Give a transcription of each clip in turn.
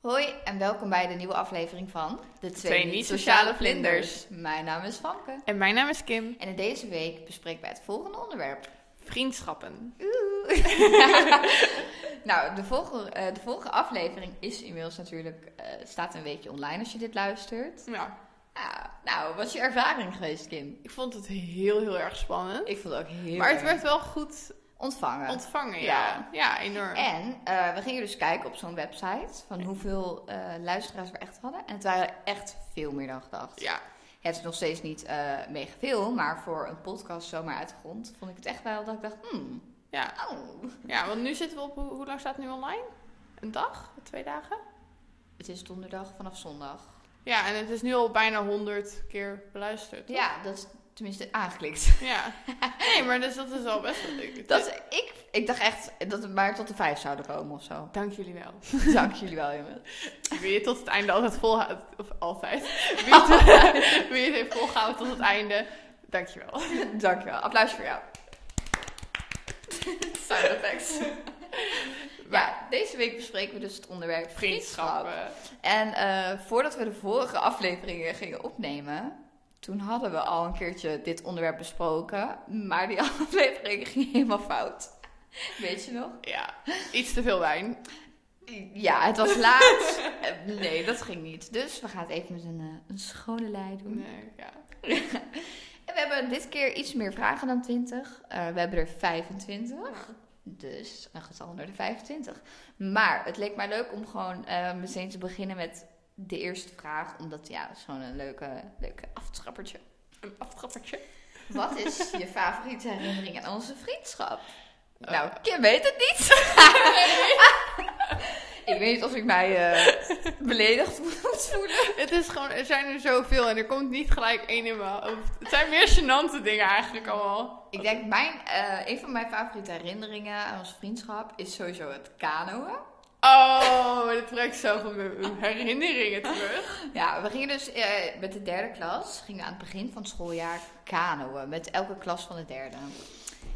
Hoi en welkom bij de nieuwe aflevering van De Twee, Niet-Sociale Twee Niet-Sociale Vlinders. Mijn naam is Vanke En mijn naam is Kim. en in deze week bespreken wij het volgende onderwerp. Vriendschappen. nou, de volgende, eh, de vorige aflevering is inmiddels natuurlijk, eh, staat een weekje online als je dit luistert. Ja. Ja, nou, wat is je ervaring geweest, Kim? Ik vond het heel, heel erg spannend. Ik vond het ook heel maar het erg werd wel goed ontvangen. ontvangen, Ja. ja. Ja, enorm. en eh, we gingen dus kijken op zo'n website van hoeveel eh, luisteraars we echt hadden. En het waren echt veel meer dan gedacht. Ja. Het is nog steeds niet eh, mega veel, maar voor een podcast zomaar uit de grond vond ik het echt wel dat ik dacht, hmm, Ja. oh. ja, want nu zitten we op... Hoe, hoe lang staat het nu online? Een dag? Twee dagen? Het is donderdag vanaf zondag. Ja, en het is nu al bijna honderd keer beluisterd. toch? Ja, dat is tenminste aangeklikt. Ja. Nee, maar dus dat is al best wel leuk. Dat, ik, ik dacht echt dat we maar tot de vijf zouden komen of zo. Dank jullie wel. Dank jullie wel, jongens. Wie het tot het einde altijd volhoudt... Of altijd. Wie het, wie het heeft volgehouden tot het einde. Dank je wel. Dankjewel. Applaus voor jou. Sound effects. Ja, deze week bespreken we dus het onderwerp vriendschap. Vriendschappen. En eh, voordat we de vorige afleveringen gingen opnemen, toen hadden we al een keertje dit onderwerp besproken. Maar die aflevering ging helemaal fout. Weet je nog? Ja, iets te veel wijn. Ja, het was laat. Eh, nee, dat ging niet. Dus we gaan het even met een, eh, een schone lei doen. Nee, ja. En we hebben dit keer iets meer vragen dan 20. Eh, we hebben er 25. Dus een getal naar de 25. Maar het leek mij leuk om gewoon eh, meteen te beginnen met de eerste vraag. Omdat ja, dat is gewoon een leuke, leuke aftrappertje. Een aftrappertje. Wat is je favoriete herinnering aan onze vriendschap? Eh. Nou, Kim weet het niet. ik weet niet of ik mij eh, beledigd moet voelen. Het is gewoon, er zijn er zoveel en er komt niet gelijk één in mijn hoofd. Het zijn meer gênante dingen eigenlijk allemaal. Ik denk, mijn, eh, een van mijn favoriete herinneringen aan onze vriendschap is sowieso het kanoën. Oh, dit trekt zo van mijn herinneringen terug. Ja, we gingen dus eh, met de derde klas, gingen we aan het begin van het schooljaar kanoën. Met elke klas van de derde.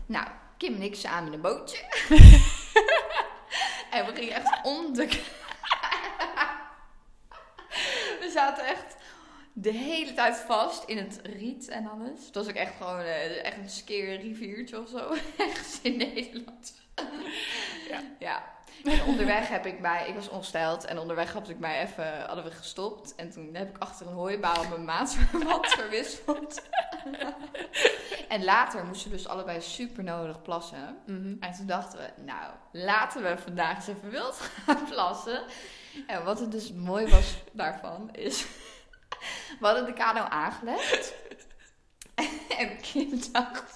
Nou, Kim en ik samen in een bootje. en we gingen echt om de... we zaten echt de hele tijd vast in het riet en alles. Het was ook echt gewoon eh, echt een skeer riviertje of zo. Ergens in Nederland. Ja. ja. En onderweg heb ik mij, ik was ongesteld en onderweg had ik mij even, hadden we gestopt. En toen heb ik achter een hooibaal mijn maatverband verwisseld. en later moesten we dus allebei super nodig plassen. En toen dachten we, nou, laten we vandaag eens even wild gaan plassen. En wat het dus mooi was daarvan, is... We hadden de kano aangelegd. En Kim dacht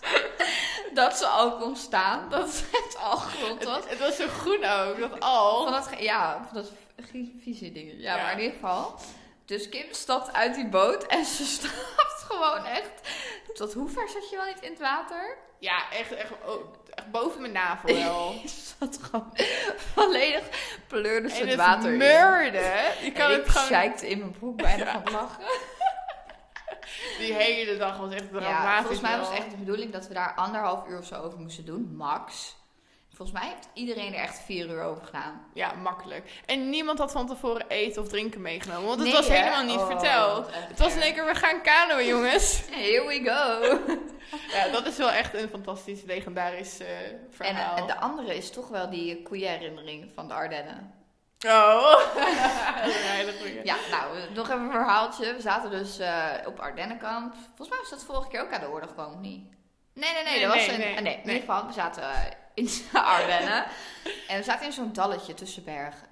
dat ze al kon staan. Dat het al grond was. Het, het was zo groen ook, dat al. Van dat, ge- ja, van dat v- vieze ding. Ja, Ja. maar in ieder geval. Dus Kim stapt uit die boot en ze stapt gewoon echt... Tot hoe ver zat je wel niet in het water? Ja, echt, echt, oh, echt boven mijn navel wel. Ze zat gewoon volledig pleurde ze en het het water in. meurde. Je kan En het ik gewoon... zeikte in mijn broek bijna van het lachen. Die hele dag was echt dramatisch. Ja, volgens mij was wel. het echt de bedoeling dat we daar anderhalf uur of zo over moesten doen, max. Volgens mij heeft iedereen er echt vier uur over gedaan. Ja, makkelijk. En niemand had van tevoren eten of drinken meegenomen, want het Nee, was hè? helemaal niet Oh, verteld. wat echt Het was in erg. één keer, we gaan kanoën, jongens. Here we go. ja, dat is wel echt een fantastisch, legendarisch eh, En verhaal. eh, de andere is toch wel die koeienherinnering van de Ardennen. Oh, dat is een hele goeie. Ja, nou, eh, nog even een verhaaltje. We zaten dus eh, op Ardennenkamp. Volgens mij was dat vorige keer ook aan de orde gekomen, of niet? Nee, nee, nee. Nee, dat was nee, een, nee, ah, nee, in nee. ieder geval, we zaten eh, in de Ardennen. en we zaten in zo'n dalletje tussen bergen.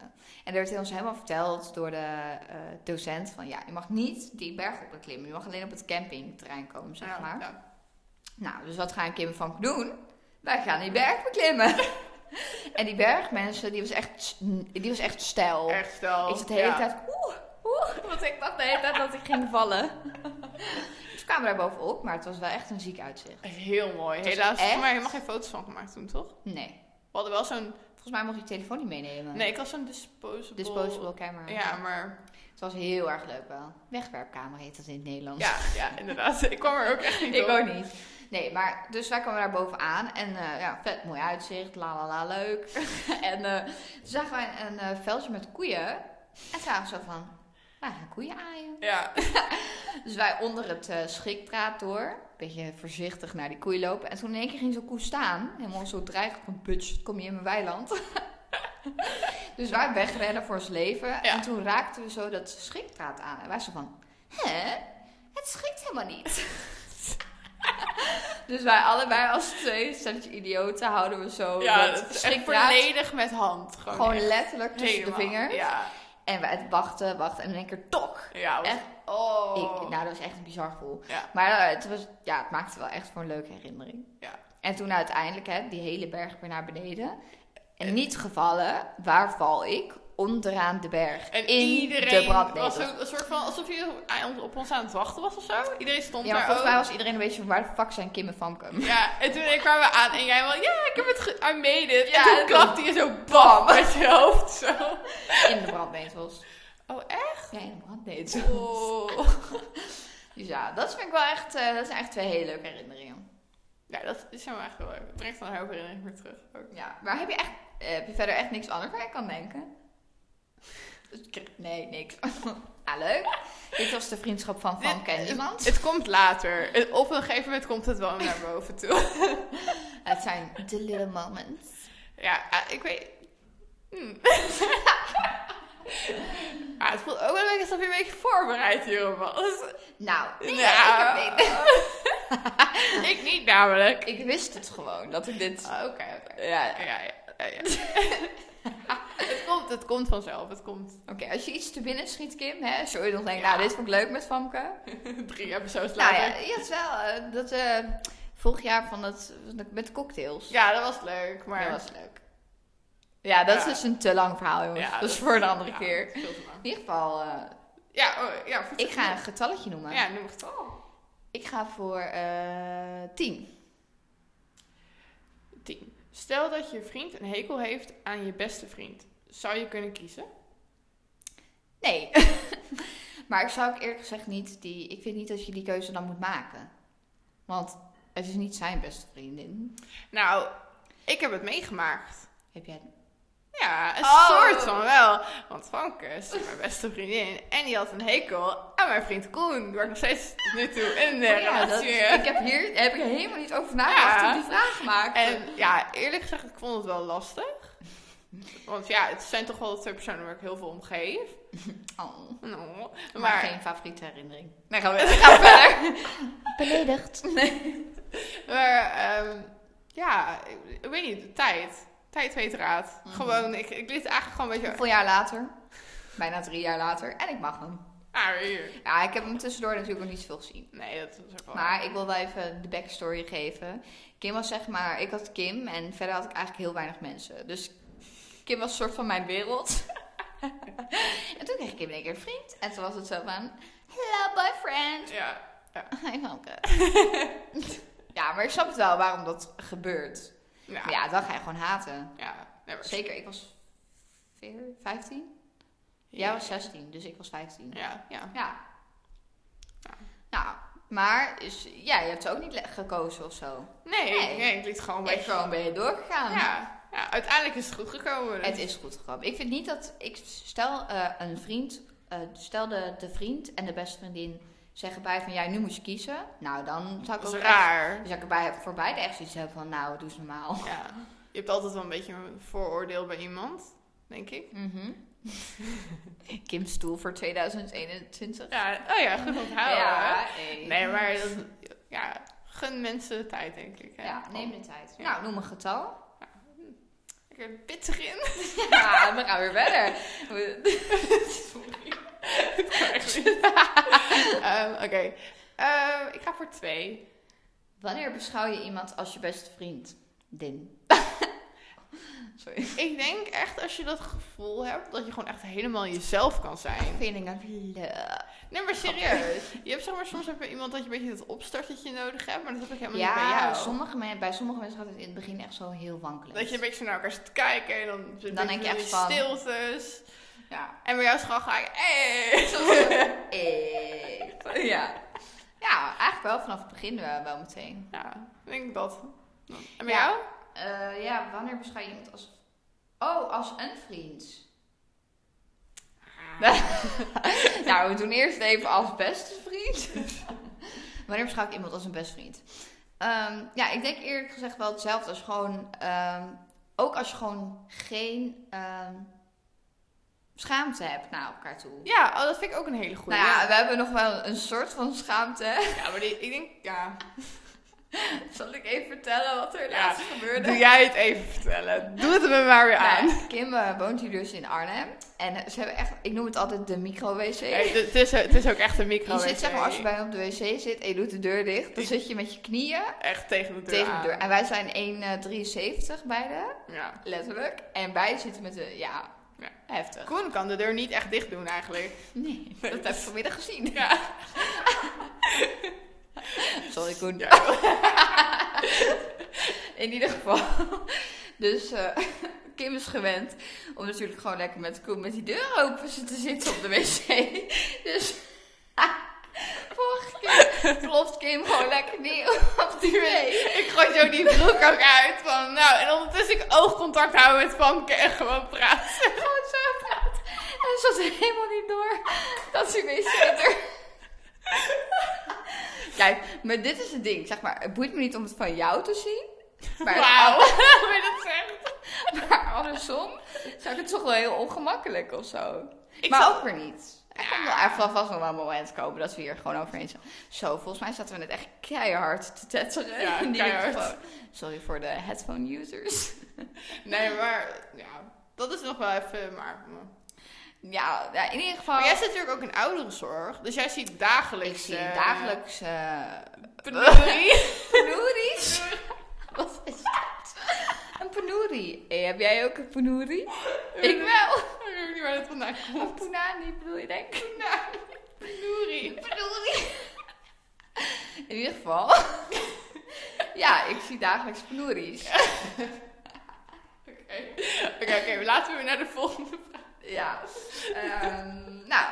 En er werd ons helemaal verteld door de eh, docent van... Ja, je mag niet die berg op klimmen. Je mag alleen op het campingterrein komen, zeg Ja, maar. ja. Nou, dus wat gaan Kim en Frank doen? Wij gaan die berg beklimmen. en die berg, mensen, die was echt, die was echt stijl. Echt stel. Ik zat de hele ja. tijd, oeh, oeh, want ik dacht de hele tijd dat ik ging vallen. Dus we kwamen daar bovenop, maar het was wel echt een ziek uitzicht. Heel mooi. Het was Helaas, echt- maar helemaal geen foto's van gemaakt toen, toch? Nee, We hadden wel zo'n... volgens mij mocht je je telefoon niet meenemen. Nee, ik had zo'n disposable... Disposable camera. Ja, maar... Het was heel erg leuk wel. Wegwerpkamer heet dat in het Nederlands. Ja, ja, inderdaad. Ik kwam er ook echt niet Ik op. ook niet. Nee, maar dus wij kwamen daar bovenaan en eh, ja, vet mooi uitzicht, la la la, leuk. en eh, toen zagen wij een, een eh, veldje met koeien En toen waren we zo van, wij gaan koeien aaien. Ja. Dus wij onder het eh, schikdraad door, een beetje voorzichtig naar die koei lopen. En toen in één keer ging zo'n koe staan, helemaal zo dreigend van putsch, kom je in mijn weiland. dus wij wegrennen voor ons leven. En toen raakten we zo dat schikdraad aan. En wij zo van, hè, het schikt helemaal niet. dus wij allebei als twee stelletje idioten houden we zo Ja, Oh, dat dat is echt schrikdraad volledig met hand. Gewoon, gewoon echt letterlijk tussen de helemaal. vingers. Ja. En wij het wachten, wachten en in één keer tok. Ja, was- Echt? oh. Ik, nou, dat was echt een bizar gevoel. Ja. Maar eh, het, was, ja, het maakte wel echt voor een leuke herinnering. Ja. En toen uiteindelijk, hè, die hele berg weer naar beneden. En niet gevallen, waar val ik? Onderaan de berg. En in de iedereen brandnetel. was ook een soort van alsof je aan- op ons aan het wachten was of zo. Iedereen stond Ja, maar daar ook. volgens mij was iedereen een beetje van waar de fuck zijn Kim en Famke? Ja, en toen kwamen we aan en jij wel, ja, ik heb het ge- I made it. Ja, en toen en klapte je zo bam met je hoofd zo. In de brandnetels. Oh, echt? Ja, in de brandnetels. Oh. Dus ja, dat vind ik wel echt, eh, dat zijn echt twee hele leuke herinneringen. Ja, dat is helemaal echt wel leuk. Het brengt dan een hoop herinnering weer terug. Ook. Ja, maar heb je, echt, eh, heb je verder echt niks anders waar je kan denken? Nee, niks. ah, leuk. Dit was de vriendschap van Famke en niemand. Het komt later. Het- Op een gegeven moment komt het wel naar boven toe. Het zijn de little moments. Ja, eh, ik weet... Hm. Ja, het voelt ook wel leuk alsof je een beetje voorbereid hierop was. Nou, nee, Nou. ik, heb niet- ik niet namelijk. ik wist het gewoon dat ik dit. Oké, oké. Ja, Ja, ja, ja, ja. het, komt, het komt vanzelf. Het komt oké. als je iets te binnen schiet, Kim, hè, zul je dan denken, Ja. nou, dit vond ik leuk met Famke. drie episodes Nou later. ja, ja. ja, het is wel. eh, dat eh, vorig jaar van dat met cocktails. dat was leuk. Maar Dat was leuk. Ja, dat is Ja. dus een te lang verhaal, jongens. Ja, dat is voor een andere ja, keer. dat is veel te lang. In ieder geval, eh, Ja, oh, ja vertel. ik ga een getalletje noemen. Ja, noem het al. Ik ga voor eh tien. Tien. Stel dat je vriend een hekel heeft aan je beste vriend. Zou je kunnen kiezen? Nee. maar ik zou ook eerlijk gezegd niet die. Ik vind niet dat je die keuze dan moet maken. Want het is niet zijn beste vriendin. Nou, ik heb het meegemaakt. Heb jij het? Ja, een Oh. soort van wel. Want Vanke is mijn beste vriendin. En die had een hekel aan mijn vriend Koen. Waar ik nog steeds tot nu toe een eh, Oh Ja, dat- relatie mee heb. ik heb hier heb ik helemaal niet over nagedacht Ja. toen die vraag maakte. En ja, eerlijk gezegd, ik vond het wel lastig. Want ja, het zijn toch wel de twee personen waar ik heel veel om geef. Oh, Nou, maar, maar, geen favoriete herinnering. Nee, gaan we, gaan we verder. Beledigd. maar, ehm, ja, ik, ik weet niet, de tijd. Tijd weet raad. Mhm. Gewoon, ik, ik liet eigenlijk gewoon een beetje... Hoeveel jaar later? Bijna drie jaar later. En ik mag hem. Ah, hier. Ja, ik heb hem tussendoor natuurlijk nog niet veel gezien. Nee, dat was ook wel... Maar ik wil wel even de backstory geven. Kim was zeg maar, ik had Kim en verder had ik eigenlijk heel weinig mensen. Dus Kim was een soort van mijn wereld. en toen kreeg ik Kim in één keer een vriend. En toen was het zo van, hello boyfriend. Ja. Hi Famke. ja, maar ik snap het wel waarom dat gebeurt. Ja. Maar ja, dan ga je gewoon haten. Ja. nee, maar- Zeker, ik was veer- 15? Jij Ja. was 16, dus ik was 15. Ja, ja. Ja. Ja. Nou, maar is, ja, je hebt ze ook niet le- gekozen of zo. Nee, nee. Nee. ik liet gewoon een Ik beetje... gewoon ben je doorgegaan. Ja. ja, uiteindelijk is het goed gekomen. dus Het is goed gekomen. Ik vind niet dat. Ik stel eh, een vriend. eh, stel de, de vriend en de beste vriendin zeggen bij van ja, nu moet je kiezen. Nou, dan zou ik Dat ook is echt- raar. dan zou ik er bij, voor beide echt zoiets hebben van nou, doe eens normaal. Ja. Je hebt altijd wel een beetje een vooroordeel bij iemand, denk ik. Mhm. Kim's stoel voor 2021. Ja, oh ja, goed onthouden. hè? hey. Nee, maar dat, ja, gun mensen de tijd, denk ik. Hè? Ja, neem de tijd. Ja. Nou, noem een getal. Ik er pittig in. Ja, we gaan weer verder. We- Ehm, Oké, Ehm, ik ga voor twee. Wanneer beschouw je iemand als je beste vriend? Din. Sorry. Ik denk echt als je dat gevoel hebt dat je gewoon echt helemaal jezelf kan zijn. Feeling of love. Nee, maar serieus. Je hebt zeg maar soms heb je iemand dat je een beetje dat opstartetje nodig hebt, maar dat heb ik helemaal niet bij Ja, jou. sommige men, bij sommige mensen gaat het in het begin echt zo heel wankelen. Dat je een beetje zo naar elkaar zit te kijken en dan, zit een Dan beetje denk je die echt van- stiltes. Ja. En bij jou is gewoon gelijk, hey! Eh, ja. Ja, eigenlijk wel vanaf het begin wel, wel meteen. Ja, ik denk dat. En bij Ja. jou? Eh, ja, wanneer beschouw je iemand als... Oh, als een vriend. Ah, nou, we doen eerst even als beste vriend. Wanneer beschouw ik iemand als een beste vriend? Ehm, ja, ik denk eerlijk gezegd wel hetzelfde als gewoon... ehm, ook als je gewoon geen ehm, schaamte hebt naar elkaar toe. Ja, oh, dat vind ik ook een hele goede. nou ja, we hebben nog wel een soort van schaamte. hè. Ja, maar die, ik denk, ja. Zal ik even vertellen wat er Ja, laatst gebeurde? Doe jij het even vertellen. Doe het me maar weer aan. Nou, Kim eh, woont hier dus in Arnhem. En eh, ze hebben echt, ik noem het altijd de micro-wc. Nee, het, is, het is ook echt een micro. Je zit zeg maar, als je wc. bij hem op de wc zit en je doet de deur dicht, dan zit je met je knieën Echt tegen de deur tegen aan. de deur. En wij zijn 1,73 beide, Ja. letterlijk. En wij zitten met de, ja, Ja. heftig. Koen kan de deur niet echt dicht doen eigenlijk. Nee, dat heb ik vanmiddag gezien. Ja. Sorry Koen. Ja. In ieder geval. Dus eh, Kim is gewend om natuurlijk gewoon lekker met Koen met die deur open te zitten op de wc. Dus vorige keer ploft Kim gewoon lekker neer op die wc. Ik gooi zo die broek ook uit van, nou, en ondertussen ik oogcontact houden met Famke en gewoon praten. Gewoon zo praat. En ze had helemaal niet door dat ze wc er... Kijk, maar dit is het ding. Zeg maar, het boeit me niet om het van jou te zien. Maar het Wauw, hoe je dat zegt. Maar andersom zou ik het toch wel heel ongemakkelijk of zo. Ik maar zal- ook weer niet. Er komt wel er zal vast nog wel een moment komen dat we hier gewoon overheen zijn. Zo, volgens mij zaten we net echt keihard te tetteren. Ja, in die keihard. microfoon. Sorry voor de headphone users. Nee, maar ja, dat is nog wel even, maar... mm. Ja, ja, in ieder geval. Maar jij zit natuurlijk ook in ouderenzorg, dus jij ziet dagelijks... ik zie eh, dagelijks eh penurie. panoeries. Wat is dat? Een panoerie. Hey, heb jij ook een panoerie? ik wel. Ik Oh, weet ook niet waar dat vandaan Een komt. punani bedoel je denk ik? Penurie. Panoerie. In ieder geval. ja, ik zie dagelijks panoeries. Oké, oké, oké, laten we naar de volgende. Ja. Ehm, nou,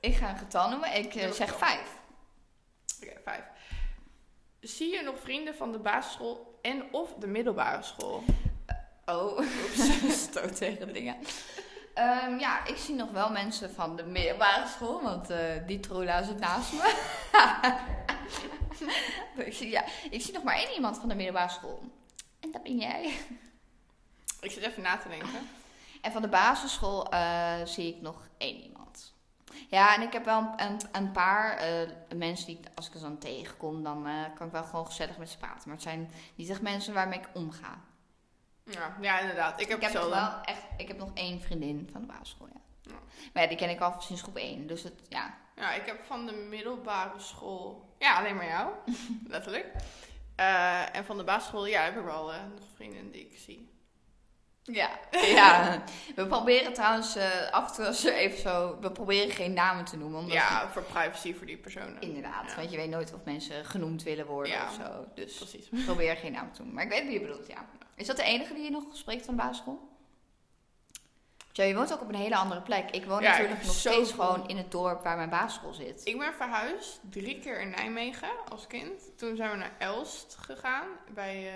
ik ga een getal noemen. Ik eh, zeg vijf. Oké, vijf. Zie je nog vrienden van de basisschool en of de middelbare school? Oh, oeps. Stoot tegen dingen. Ehm, ja, ik zie nog wel mensen van de middelbare school, want eh, die trola zit naast me. Maar ik, zie, ja, ik zie nog maar één iemand van de middelbare school. En dat ben jij. Ik zit even na te denken. En van de basisschool eh, zie ik nog één iemand. Ja, en ik heb wel een, een, een paar eh, mensen die, ik- als ik er dan tegenkom, dan eh, kan ik wel gewoon gezellig met ze praten. Maar het zijn niet echt mensen waarmee ik omga. Ja, ja inderdaad. Ik heb, Ik heb, nog zo wel echt, ik heb nog één vriendin van de basisschool, ja. Ja. Maar ja, die ken ik al sinds groep 1. Dus het, ja. Ja, ik heb van de middelbare school. Ja, alleen maar jou. letterlijk. Eh, en van de basisschool, ja, heb ik wel eh, nog vrienden die ik zie. Ja. ja. We proberen trouwens eh, af en toe als er even zo... We proberen geen namen te noemen. Omdat ja, voor privacy voor die personen. Inderdaad, Ja, want je weet nooit of mensen genoemd willen worden Ja. of zo. Dus Precies. Probeer geen naam te noemen. Maar ik weet wie je bedoelt, ja. Is dat de enige die je nog spreekt van de basisschool? Joe, je woont ook op een hele andere plek. Ik woon Ja, ik natuurlijk heb nog steeds zoveel- gewoon in het dorp waar mijn basisschool zit. Ik ben verhuisd drie keer in Nijmegen als kind. Toen zijn we naar Elst gegaan, bij,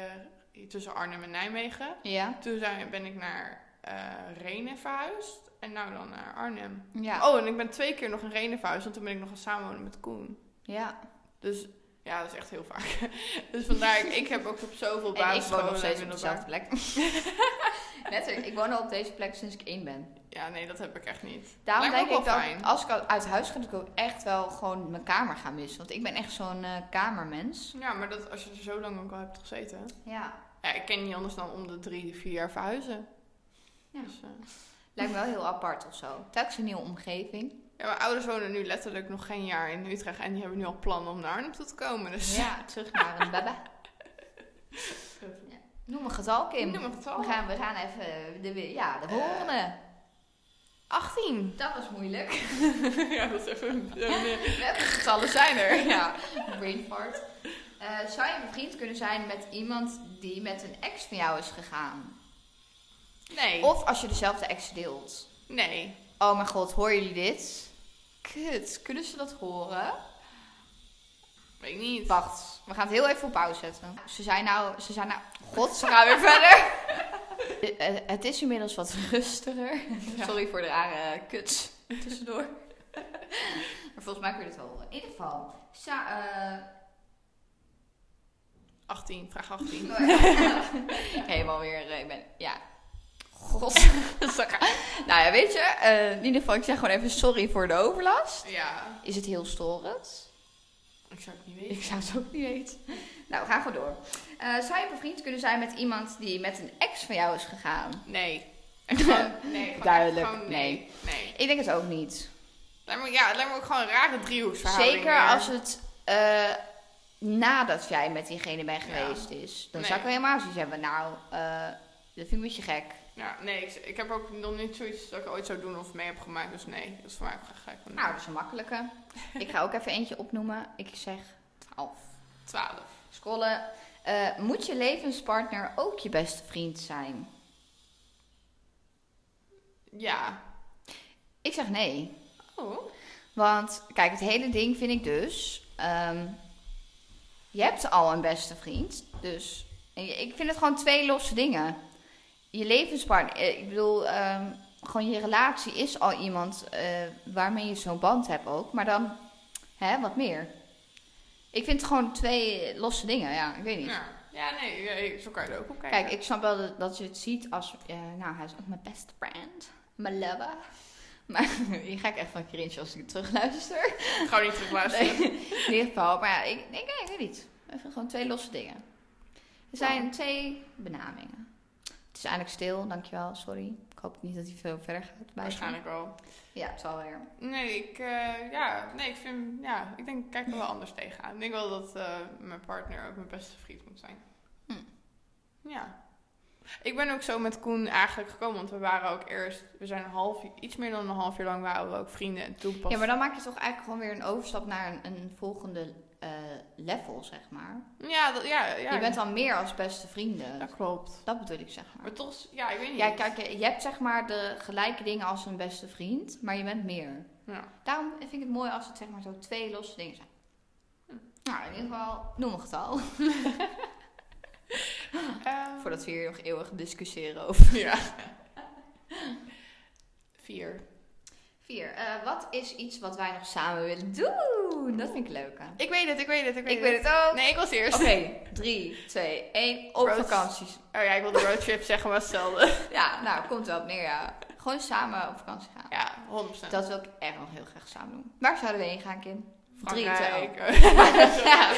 eh, tussen Arnhem en Nijmegen. Ja? Toen zijn, ben ik naar eh Renen verhuisd en nou dan naar Arnhem. Ja. Oh, en ik ben twee keer nog in Renen verhuisd, want toen ben ik nog gaan samenwonen met Koen. Ja. Dus ja, dat is echt heel vaak. dus vandaar, ik, ik heb ook op zoveel En ik woon basisscholen nog steeds en op middelbaar- dezelfde plek. Letterlijk, ik woon al op deze plek sinds ik één ben. Ja, nee, dat heb ik echt niet. Daarom Lijkt me denk ook ik wel dat fijn. als ik al uit huis ga, dat ik ook echt wel gewoon mijn kamer ga missen. Want ik ben echt zo'n eh, kamermens. Ja, maar dat, als je er zo lang ook al hebt gezeten. Ja, Ja, ik ken niet anders dan om de drie, vier jaar verhuizen. Ja. Dus, eh, lijkt me wel heel apart of zo. Telkens een nieuwe omgeving. ja, mijn ouders wonen nu letterlijk nog geen jaar in Utrecht en die hebben nu al plannen om naar Arnhem toe te komen. Dus Ja, terug naar een baba. Noem een getal, Kim. noem het al. We gaan, we gaan even de, ja, de volgende. 18. dat was moeilijk. ja, dat is even een- een- Welke getallen zijn er. ja, brain fart. Eh, zou je een vriend kunnen zijn met iemand die met een ex van jou is gegaan? Nee. Of als je dezelfde ex deelt. nee. Oh mijn god, horen jullie dit? Kut, kunnen ze dat horen? Weet ik niet. Wacht, we gaan het heel even op pauze zetten. Ze zijn nou, ze zijn nou... God, ze gaan weer verder. Eh, eh, Het is inmiddels wat rustiger. Ja. Sorry voor de rare kuts. tussendoor. maar volgens mij kun je dit wel. In ieder geval. Sa eh, 18, vraag 18. Oh ja. Helemaal weer, eh, ik ben, ja. God. nou ja, weet je, eh, in ieder geval, ik zeg gewoon even sorry voor de overlast. ja, Is het heel storend? ik zou het niet Ik weten. zou het ook niet weten. Nou, we gaan gewoon door. Eh, zou je bevriend kunnen zijn met iemand die met een ex van jou is gegaan? Nee. Echt gewoon, nee. Gewoon, Duidelijk, echt gewoon nee. Nee. Ik denk het ook niet. Lijkt me, ja, het lijkt me ook gewoon een rare driehoeksverhouding. Zeker weer. als het eh, nadat jij met diegene bent Ja. geweest is. Dan Nee. zou ik helemaal zoiets hebben. Nou, eh, dat vind ik een beetje gek. Ja, nee, ik, ik heb ook nog niet zoiets dat ik ooit zou doen of mee heb gemaakt. Dus nee, dat is voor mij ook gelijk van Nou, dat is een makkelijke. Ik ga ook even eentje opnoemen. Ik zeg 12. 12. Scrollen. Eh, moet je levenspartner ook je beste vriend zijn? Ja. Ik zeg nee. Oh. Want kijk, het hele ding vind ik dus. ehm, je hebt al een beste vriend. Dus en je- ik vind het gewoon twee losse dingen. Je levenspartner, eh, ik bedoel, ehm, gewoon je relatie is al iemand eh, waarmee je zo'n band hebt ook. Maar dan, hè, wat meer. Ik vind het gewoon twee losse dingen, ja, ik weet niet. Ja. ja, nee, nee, zo kan je er ook op kijken. Kijk, ik snap wel dat, dat je het ziet als... eh, nou, hij is ook mijn beste friend. Mijn lover. Maar hier ga ik echt van cringe als ik het terugluister. ik ga niet terugluisteren. Nee, in ieder geval. Maar ja, ik, ik, nee, ik weet niet. Even gewoon twee losse dingen. Er zijn twee benamingen. Het is eindelijk stil, dankjewel, sorry. Ik hoop niet dat hij veel verder gaat. bij Waarschijnlijk wel. Ja, het zal weer. Nee, ik, eh, ja, nee, ik vind, ja, ik denk, ik kijk er wel anders tegenaan. Ik denk wel dat eh, mijn partner ook mijn beste vriend moet zijn. Hm. Ja. Ik ben ook zo met Koen eigenlijk gekomen, want we waren ook eerst, we zijn een half, iets meer dan een half jaar lang waren we ook vrienden. En toen pas... Ja, maar dan maak je toch eigenlijk gewoon weer een overstap naar een, een volgende eh, level, zeg maar. Ja, dat, ja, ja. Je bent dan meer als beste vrienden. Dat klopt. Dat bedoel ik, zeg maar. Maar toch, ja, ik weet niet. Ja, kijk, je hebt zeg maar de gelijke dingen als een beste vriend, maar je bent meer. Ja. Daarom vind ik het mooi als het zeg maar zo twee losse dingen zijn. Hm. Nou, in ieder geval, noem een getal. Ehm, Voordat we hier nog eeuwig discussiëren over. ja. Vier. Vier, eh, wat is iets wat wij nog samen willen doen? Dat vind ik leuk, hè? Ik weet het, ik weet het, ik weet Ik het. weet het ook. Nee, ik was eerst. Oké, drie, twee, één, op Roads. vakanties. Oh ja, ik wilde roadtrip zeggen, maar hetzelfde. Ja, nou, komt wel op neer, ja. Gewoon samen op vakantie gaan. Ja, 100%. Dat wil ik echt nog heel graag samen doen. Waar zouden we heen gaan, Kim? Drie, twee, Frankrijk. één. ja.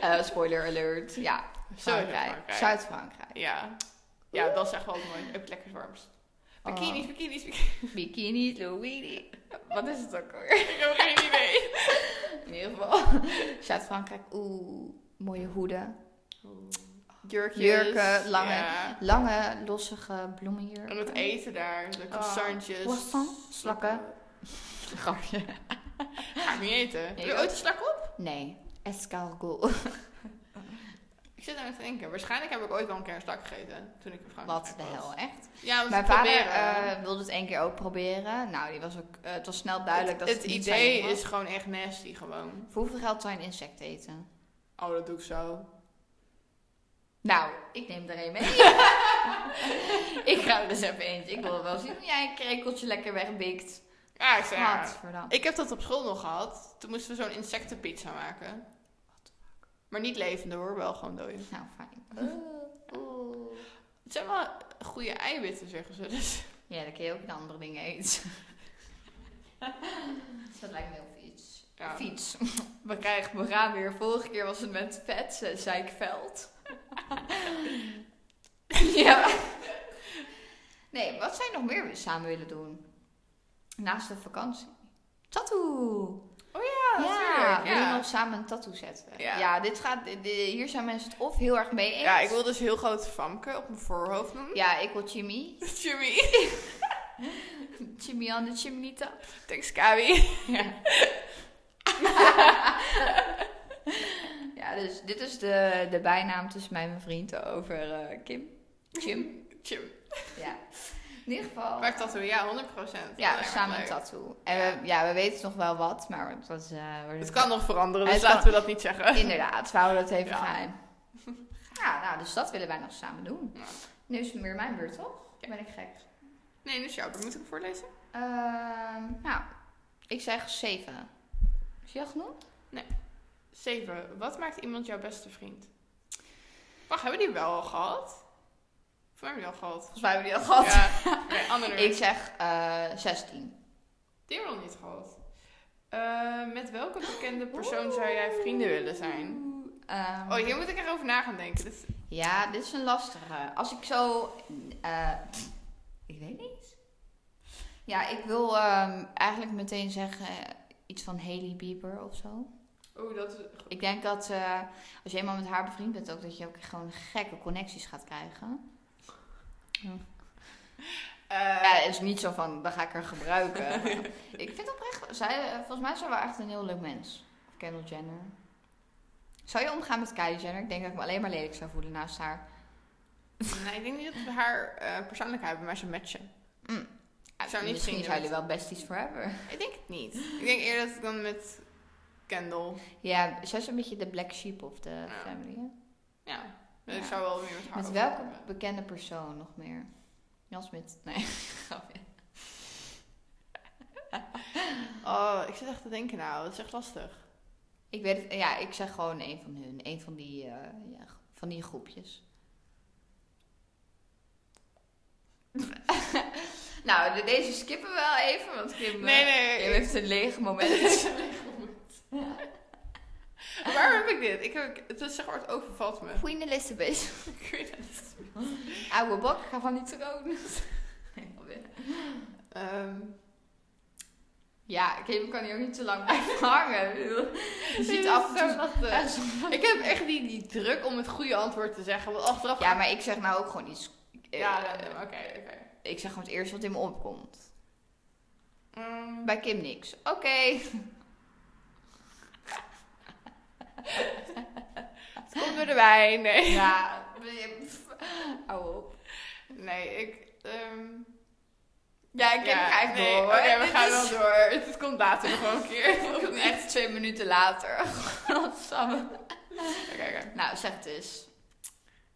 ja. Eh, spoiler alert. Ja, Frankrijk. Zuid-Frankrijk. Ja. ja, dat is echt wel mooi. Ook lekker warms. Bikinis, Oh. bikinis, bikinis. Bikini, Louis. Wat is het ook alweer? Ik heb geen idee. In ieder geval. Zuid-Frankrijk. Oeh, mooie hoeden. Jurkjes. Jurken, lange- Ja. Lange, lossige En bloemenjurken. het eten daar. De croissantjes. Oh. croissant, slakken. Grapje. Ga ik niet eten. Heb Nee, je dat- ooit een slak op? Nee, escargot. Oh, Ik zit aan het denken. Waarschijnlijk heb ik ooit wel een keer een slak gegeten. Toen ik in Frankrijk Wat de was. hel, echt. Ja, want Mijn ze vader proberen- eh, wilde het één keer ook proberen. Nou, die was ook, eh, het was snel duidelijk het, dat het niet zijn idee ding was. is gewoon echt nasty gewoon. Voor hoeveel geld zou je een insect eten? Oh, dat doe ik zo. Nou, ik neem er een mee. ik ga er dus even eentje. Ik wil wel zien hoe jij een krekeltje lekker wegbikt. Ja, Ah, ik zei ja. Gadverdamme. Ik heb dat op school nog gehad. Toen moesten we zo'n insectenpizza maken. Maar niet levende hoor, wel gewoon dode. Nou, fijn. Oh, Het zijn wel goede eiwitten, zeggen ze. Dus Ja, dan kun je ook de andere dingen eten. Dat lijkt me heel fiets. ja, Fiets. We krijgen we gaan weer. Vorige keer was het met vet, eh, zei ik veld. ja. Nee, wat zou je nog meer samen willen doen? Naast de vakantie. Tattoo! ja, natuurlijk, wil je Oh Ah, ja. nog samen een tattoo zetten? Ja. dit gaat, di- di- hier zijn mensen het of heel erg mee eens. ja, ik wil dus heel grote famke op mijn voorhoofd doen. Ja, ik wil Jimmy. Jimmy. Jimmy aan de chimney top. Thanks, Kawi. Ja, dus dit is de, de bijnaam tussen mij en mijn vriend over eh, Kim. Jim. Jim. ja. In ieder geval. Maar ik tattoo, ja, 100%. Dat lijkt ja, me samen leuk. een tattoo. En we, ja, we weten nog wel wat, maar dat is... eh, we- Het kan nog veranderen, Het dus kan- laten we dat niet zeggen. Inderdaad, we houden dat even Ja. geheim. Ja, nou, dus dat willen wij nog samen doen. Ja. Nu is het weer mijn beurt, toch? Ja. Ben ik gek. Nee, dus jouw, dat moet ik voorlezen. Ehm, nou, ik zeg zeven. Is je al genoeg? 7. Wat maakt iemand jouw beste vriend? Wacht, hebben we die wel al gehad? Of hebben we die al gehad? Volgens mij hebben we die al gehad. Ja, oké, andere ik zeg eh 16. Die hebben we nog niet gehad. Eh, met welke bekende persoon zou jij vrienden willen zijn? Ehm, Oh, hier moet ik echt over na gaan denken. Dit is- Ja, dit is een lastige. Als ik zo. eh, ik weet niet. Ja, ik wil ehm, eigenlijk meteen zeggen eh, iets van Haley Bieber of zo. Oeh, Oh, dat is... Ik denk dat eh, als je eenmaal met haar bevriend bent, ook dat je ook gewoon gekke connecties gaat krijgen. Eh, Ja, het is niet zo van, dan ga ik er gebruiken. ik vind oprecht, zij, eh, volgens mij is zij wel echt een heel leuk mens. Kendall Jenner. Zou je omgaan met Kylie Jenner? Ik denk dat ik me alleen maar lelijk zou voelen naast haar. Nee, ik denk niet dat we haar eh, persoonlijkheid bij mij zou matchen. Ja, Zou niet Misschien vrienden zijn jullie wel besties forever. Ik denk het niet. Ik denk eerder dat ik dan met Kendall... Ja, zij is een beetje de black sheep of de Ja. family. hè? Ja, Ja. ik zou wel meer met haar Met over welke hebben. bekende persoon nog meer? Jan Smit. Nee, grapje. Oh, ik zit echt te denken nou. Dat is echt lastig. Ik weet het, ja, ik zeg gewoon een van hun. Een van die, eh, ja, van die groepjes. nou, de- deze skippen we wel even, want Kim, eh, Nee, nee. Kim heeft een leeg moment. Waarom heb ik dit? Ik heb, het is zeg maar, het overvalt me. Queen Elizabeth. Ik weet het niet. Oude bok, ga van die troon. Nee, alweer. Ehm, ja, Kim kan hier ook niet zo lang blijven hangen. Ik bedoel, Je dit ziet is af en toe zo lastig. Ja, soms- Ik heb echt die, die druk om het goede antwoord te zeggen. Want achteraf... Ja, maar ik zeg nou ook gewoon iets. eh, Ja, random, oké, oké. ik zeg gewoon het eerste wat in me opkomt. Mm, Bij Kim niks. Oké. het komt door de wijn, nee. Ja. pff, Hou op. Nee, ik... ehm, Ja, ik ja, ga even nee, door. Oké, hoor. we Dit gaan is- wel door. Het komt later nog wel een keer. Of niet? Echt twee minuten later. Godsamme. Oké, oké. nou, zeg het eens.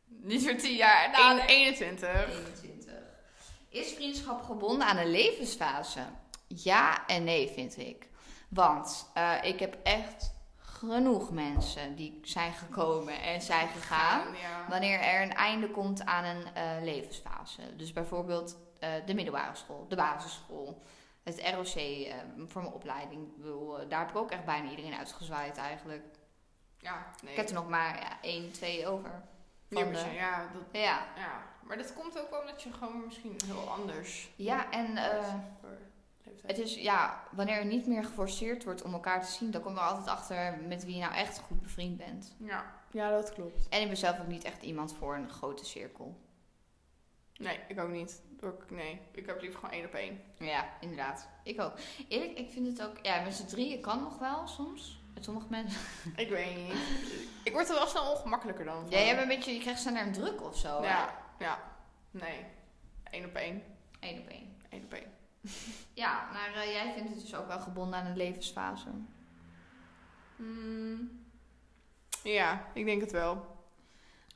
Niet voor tien jaar. Nou, Nou, een- nee. 21. 21. Is vriendschap gebonden aan een levensfase? Ja en nee, vind ik. Want eh, ik heb echt genoeg mensen die zijn gekomen en zijn gegaan. Ja. Wanneer er een einde komt aan een eh, levensfase. Dus bijvoorbeeld eh, de middelbare school, de basisschool, het ROC eh, voor mijn opleiding. Ik bedoel, eh, daar heb ik ook echt bijna iedereen uitgezwaaid eigenlijk. Ja, nee. Ik heb er nog maar ja, één, twee over. Niet van meer de- zo, ja, dat, Ja, ja. Maar dat komt ook wel omdat je gewoon misschien heel anders... ja en eh, voor leeftijd. het is, ja, wanneer er niet meer geforceerd wordt om elkaar te zien, dan kom je er altijd achter met wie je nou echt goed bevriend bent. Ja. ja, dat klopt. En ik ben zelf ook niet echt iemand voor een grote cirkel. Nee, ik ook niet. Door- Nee, ik heb liever gewoon één op één. Ja, inderdaad. Ik ook. Eerlijk, ik vind het ook... Ja, met z'n drieën kan nog wel soms. Met sommige mensen. Ik weet niet. Ik word er wel snel ongemakkelijker dan. van. Ja, jij bent een beetje... Je krijgt sneller een druk of zo. Ja, ja. Nee. Eén op één. Eén op één. Eén op één. Ja, maar eh, jij vindt het dus ook wel gebonden aan een levensfase. Mm. Ja, ik denk het wel.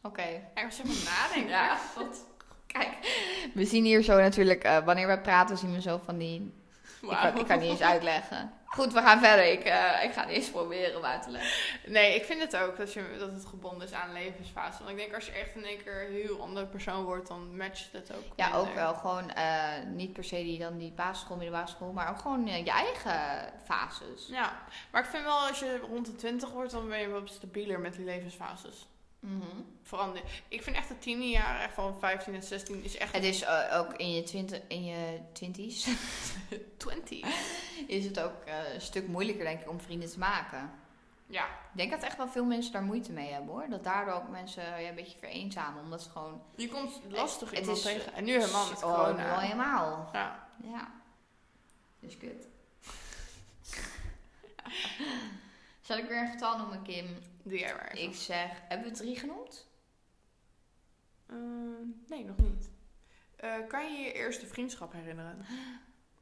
Oké. Ik was even nadenken. Ja, Kijk. We zien hier zo natuurlijk... eh, wanneer we praten zien we zo van die... Ik, Wauw. kan, ik kan niet eens uitleggen. Goed, we gaan verder. Ik, eh, ik ga niet eens proberen om uit te leggen. Nee, ik vind het ook dat, je, dat het gebonden is aan levensfase. Want ik denk als je echt in één keer een heel andere persoon wordt, dan matcht het ook. Ja, ook minder. wel. Gewoon eh, niet per se die, dan die basisschool, middelbare school. Maar ook gewoon eh, je eigen fases. Ja, maar ik vind wel als je rond de 20 wordt, dan ben je wel stabieler met die levensfases. Mhm. Verander. Ik vind echt de tiende jaren, echt van 15 en 16, is echt Het is eh, ook in je, twinti in je twinties de 20. is het ook eh, een stuk moeilijker denk ik om vrienden te maken. Ja, Ik denk dat echt wel veel mensen daar moeite mee hebben hoor. Dat daardoor ook mensen ja, een beetje vereenzamen. Omdat ze gewoon... Je komt lastig Het iemand is- tegen. En nu helemaal met Oh, nu al corona. helemaal. Ja. Ja. Dus kut. Zal ik weer een getal noemen Kim? Doe jij maar even. Ik zeg... Hebben we drie genoemd? Ehm, nee, nog niet. Eh, kan je je eerste vriendschap herinneren?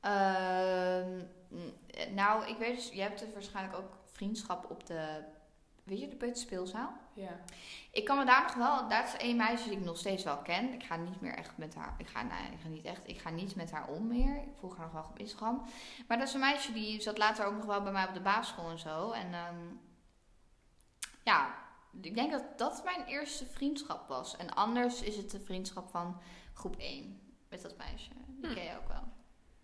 Ehm, n- nou, ik weet dus... Je hebt er waarschijnlijk ook vriendschap op de Weet je, de peuterspeelzaal? Ja. Ik kan me daar nog wel... Daar is één meisje die ik nog steeds wel ken. Ik ga niet meer echt met haar... Ik ga, nee, ik ga niet echt... Ik ga niet met haar om meer. Ik volg haar nog wel op Instagram. Maar dat is een meisje die zat later ook nog wel bij mij op de basisschool en zo. En ehm, ja, ik denk dat dat mijn eerste vriendschap was. En anders is het de vriendschap van groep 1. Met dat meisje. Die Hm. ken je ook wel.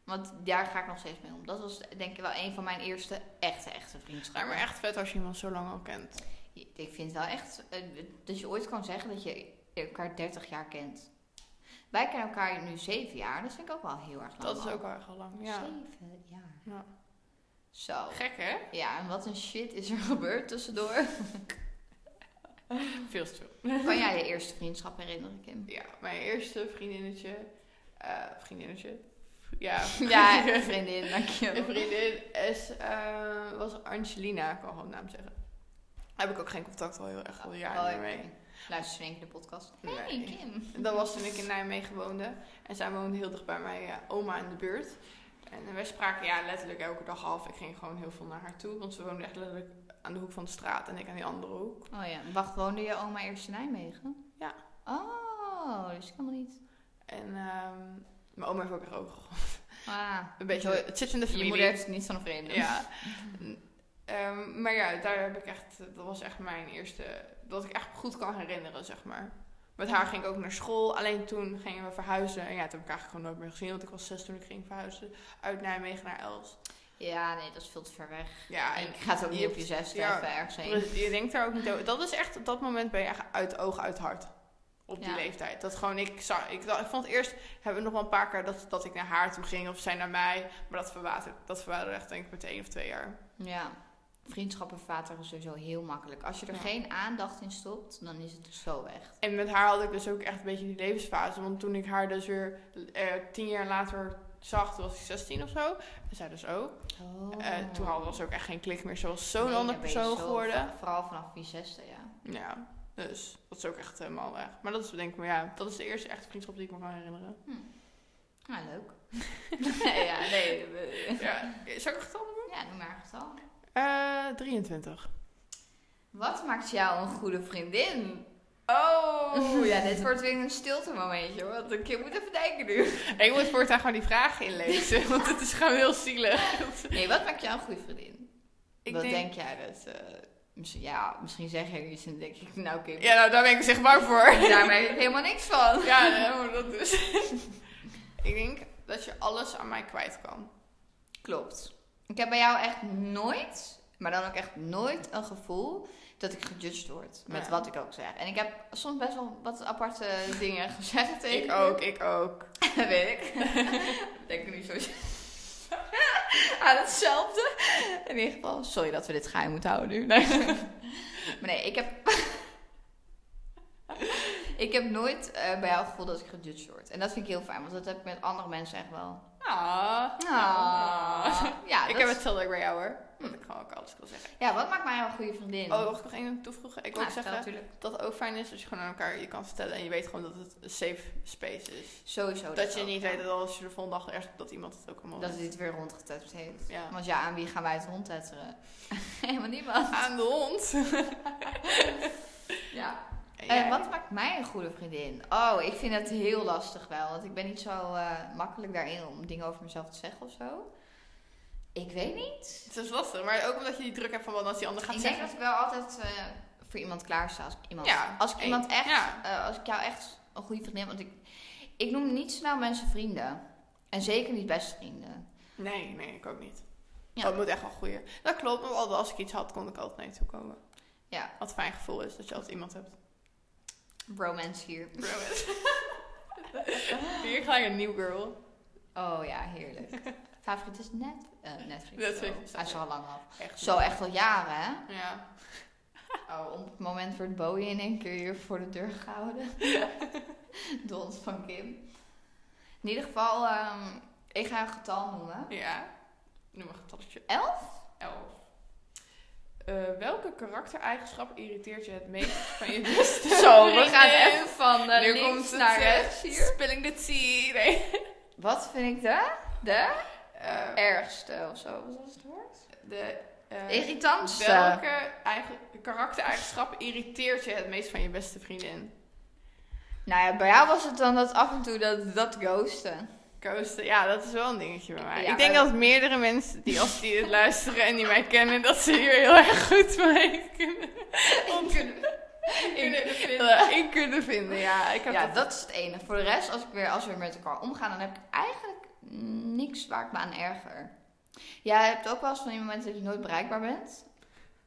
Want daar ga ik nog steeds mee om. Dat was denk ik wel een van mijn eerste echte, echte Ja, vriendschappen. maar echt vet als je iemand zo lang al kent. Je- Ik vind het wel echt eh, dat je ooit kan zeggen dat je elkaar 30 jaar kent. Wij kennen elkaar nu 7 jaar, dat vind ik ook wel heel erg lang. Dat is al. ook wel echt al lang, ja. 7 jaar. Ja. Zo. Gek, hè? Ja, en wat een shit is er gebeurd tussendoor. Veel te veel. kan jij je eerste vriendschap herinneren, Kim? Ja, mijn eerste vriendinnetje... eh, vriendinnetje? Ja, Ja, een vriendin, dank Mijn je. vriendin is, eh, was Angelina, ik kan gewoon de naam zeggen. Heb ik ook geen contact al heel erg al jaren Oh, meer mee. oké. Luister ze denk ik de podcast. Hey, Nee. Kim. En Dat was toen ik in Nijmegen woonde. En zij woonde heel dicht bij mijn eh, oma in de buurt. En wij spraken ja, letterlijk elke dag af. Ik ging gewoon heel veel naar haar toe. Want ze woonde echt letterlijk aan de hoek van de straat. En ik aan die andere hoek. Oh ja, wacht, woonde je oma eerst in Nijmegen? Ja. Oh, dus ik helemaal niet. En ehm, mijn oma heeft ook echt ogen gehad. Ah, Een beetje, Zo- het zit in de je familie. moeder heeft het niet van een vreemde. Ja. Ehm, maar ja, daar heb ik echt, dat was echt mijn eerste, dat ik echt goed kan herinneren, zeg maar. Met haar ging ik ook naar school, alleen toen gingen we verhuizen. En ja, toen heb ik eigenlijk gewoon nooit meer gezien, want ik was zes toen ik ging verhuizen. Uit Nijmegen naar Elst. Ja, nee, dat is veel te ver weg. Ja, En en ik ga het ook niet je op je zesde ja, even ergens heen. dus je denkt daar ook niet over. Dat is echt, op dat moment ben je echt uit oog, uit hart. Op die Ja. leeftijd. leeftijd. Dat gewoon, ik, zag, ik, dacht- ik vond eerst, hebben we nog wel een paar keer dat, dat ik naar haar toe ging of zij naar mij. Maar dat verwaterde, dat verwaterde echt denk ik met één of twee jaar. Ja. Vriendschappen verwateren sowieso heel makkelijk. Als je er Ja. geen aandacht in stopt, dan is het zo weg. En met haar had ik dus ook echt een beetje die levensfase. Want toen ik haar dus weer eh, tien jaar later zag, toen was ik 16 of zo. En zij dus ook. Oh. Eh, toen hadden we dus ook echt geen klik meer. Ze was Nee, zo'n dan ander ben je persoon zo- geworden. Vooral vanaf je zesde, ja. Ja, dus dat is ook echt helemaal weg. Maar dat is denk ik, maar ja, dat is de eerste echte vriendschap die ik me kan herinneren. Ah, Hm. leuk. ja, nee. we- ja, zou ik het al doen? Ja, noem maar een getal. Eh, 23. Wat maakt jou een goede vriendin? Oh! Oeh, ja, dit wordt weer een stilte momentje, want ik moet even denken nu. Ik moet voortaan gewoon die vragen inlezen, want het is gewoon heel zielig. Nee, wat maakt jou een goede vriendin? Ik Wat denk... jij dat? eh, misschien, ja, misschien zeg je iets en denk ik, nou Kim, Ja, nou, daar ben ik dus echt bang voor. daar merk ik helemaal niks van. Ja, nee, maar dat dus. ik denk dat je alles aan mij kwijt kan. Klopt. Ik heb bij jou echt nooit, maar dan ook echt nooit een gevoel dat ik gejudged word met Ja. wat ik ook zeg. En ik heb soms best wel wat aparte dingen gezegd tegen Ik je. ook, ik ook. Weet ik. denk er niet zo aan hetzelfde. In ieder geval, sorry dat we dit geheim moeten houden nu. Nee. maar nee, ik heb... ik heb nooit eh, bij jou het gevoel dat ik gejudged word. En dat vind ik heel fijn, want dat heb ik met andere mensen echt wel. Ah. Ah. Ja, ik dat- heb hetzelfde ook bij jou hoor. Dat ik gewoon ook alles kan zeggen. ja, wat maakt mij jou een goede vriendin? Hm. Nou, Oh, mag ik nog één ding toevoegen? Ik wil ook zeggen natuurlijk. dat het ook fijn is als je gewoon aan elkaar je kan vertellen. En je weet gewoon dat het een safe space is. Sowieso. Dat, je ook, niet ja. weet dat als je de volgende dag ergens dat iemand het ook allemaal Dat weet. het dit weer rondgetetterd heeft. Ja. Want ja, aan wie gaan wij het rondtetteren? Helemaal niemand. Aan de hond. Ja. En Eh, jij? wat maakt mij een goede vriendin? Oh, ik vind dat heel lastig wel. Want ik ben niet zo eh, makkelijk daarin om dingen over mezelf te zeggen of zo. Ik weet niet. Het is lastig, maar ook omdat je die druk hebt van wat als die ander gaat ik denk zeggen. dat ik wel altijd eh, voor iemand klaarsta. Als ik, iemand, Ja, als ik hey, iemand echt, ja. eh, als ik jou echt een goede vriendin Want ik, ik noem niet snel mensen vrienden. En zeker niet beste vrienden. Nee, nee, ik ook niet. Ja. Dat moet echt wel groeien. Dat klopt, maar altijd als ik iets had, kon ik altijd naar je toe komen. Ja. Wat een fijn gevoel is dat je altijd iemand hebt. Bromance hier. Hier ga je een new girl. Oh ja, heerlijk. Favoriet is net. eh Netflix. Netflix, zo. is dat Hij is het. al lang af. Echt. Zo echt al jaren hè. Ja. Oh, op het moment wordt Bowie in één keer hier voor de deur gehouden. de hond van Kim. In ieder geval, ehm, ik ga een getal noemen. Ja. Noem een getalletje. Elf? Elf. Eh, welke karaktereigenschap irriteert je het meest van je beste vriendin? van Nu komt het, eh, Spilling the tea. Nee. Wat vind ik de, de Eh, ergste of zo? Wat was het woord? de eh, Irritant. eh, Welke eigen, karaktereigenschap irriteert je het meest van je beste vriendin? Nou ja, bij jou was het dan dat af en toe dat, dat ghosten. Ghosten, ja, dat is wel een dingetje bij mij. Ja, ik denk maar- dat meerdere mensen die als die dit luisteren en die mij kennen, dat ze hier heel erg goed mee kunnen, Ik kunnen- kunnen ik- vinden. in kunnen vinden. Ja, ik heb Ja, dat- dat is het enige. Voor de rest, als, ik weer, als we weer met elkaar omgaan, dan heb ik eigenlijk niks waar ik me aan erger. Ja, je hebt ook wel eens van die momenten dat je nooit bereikbaar bent.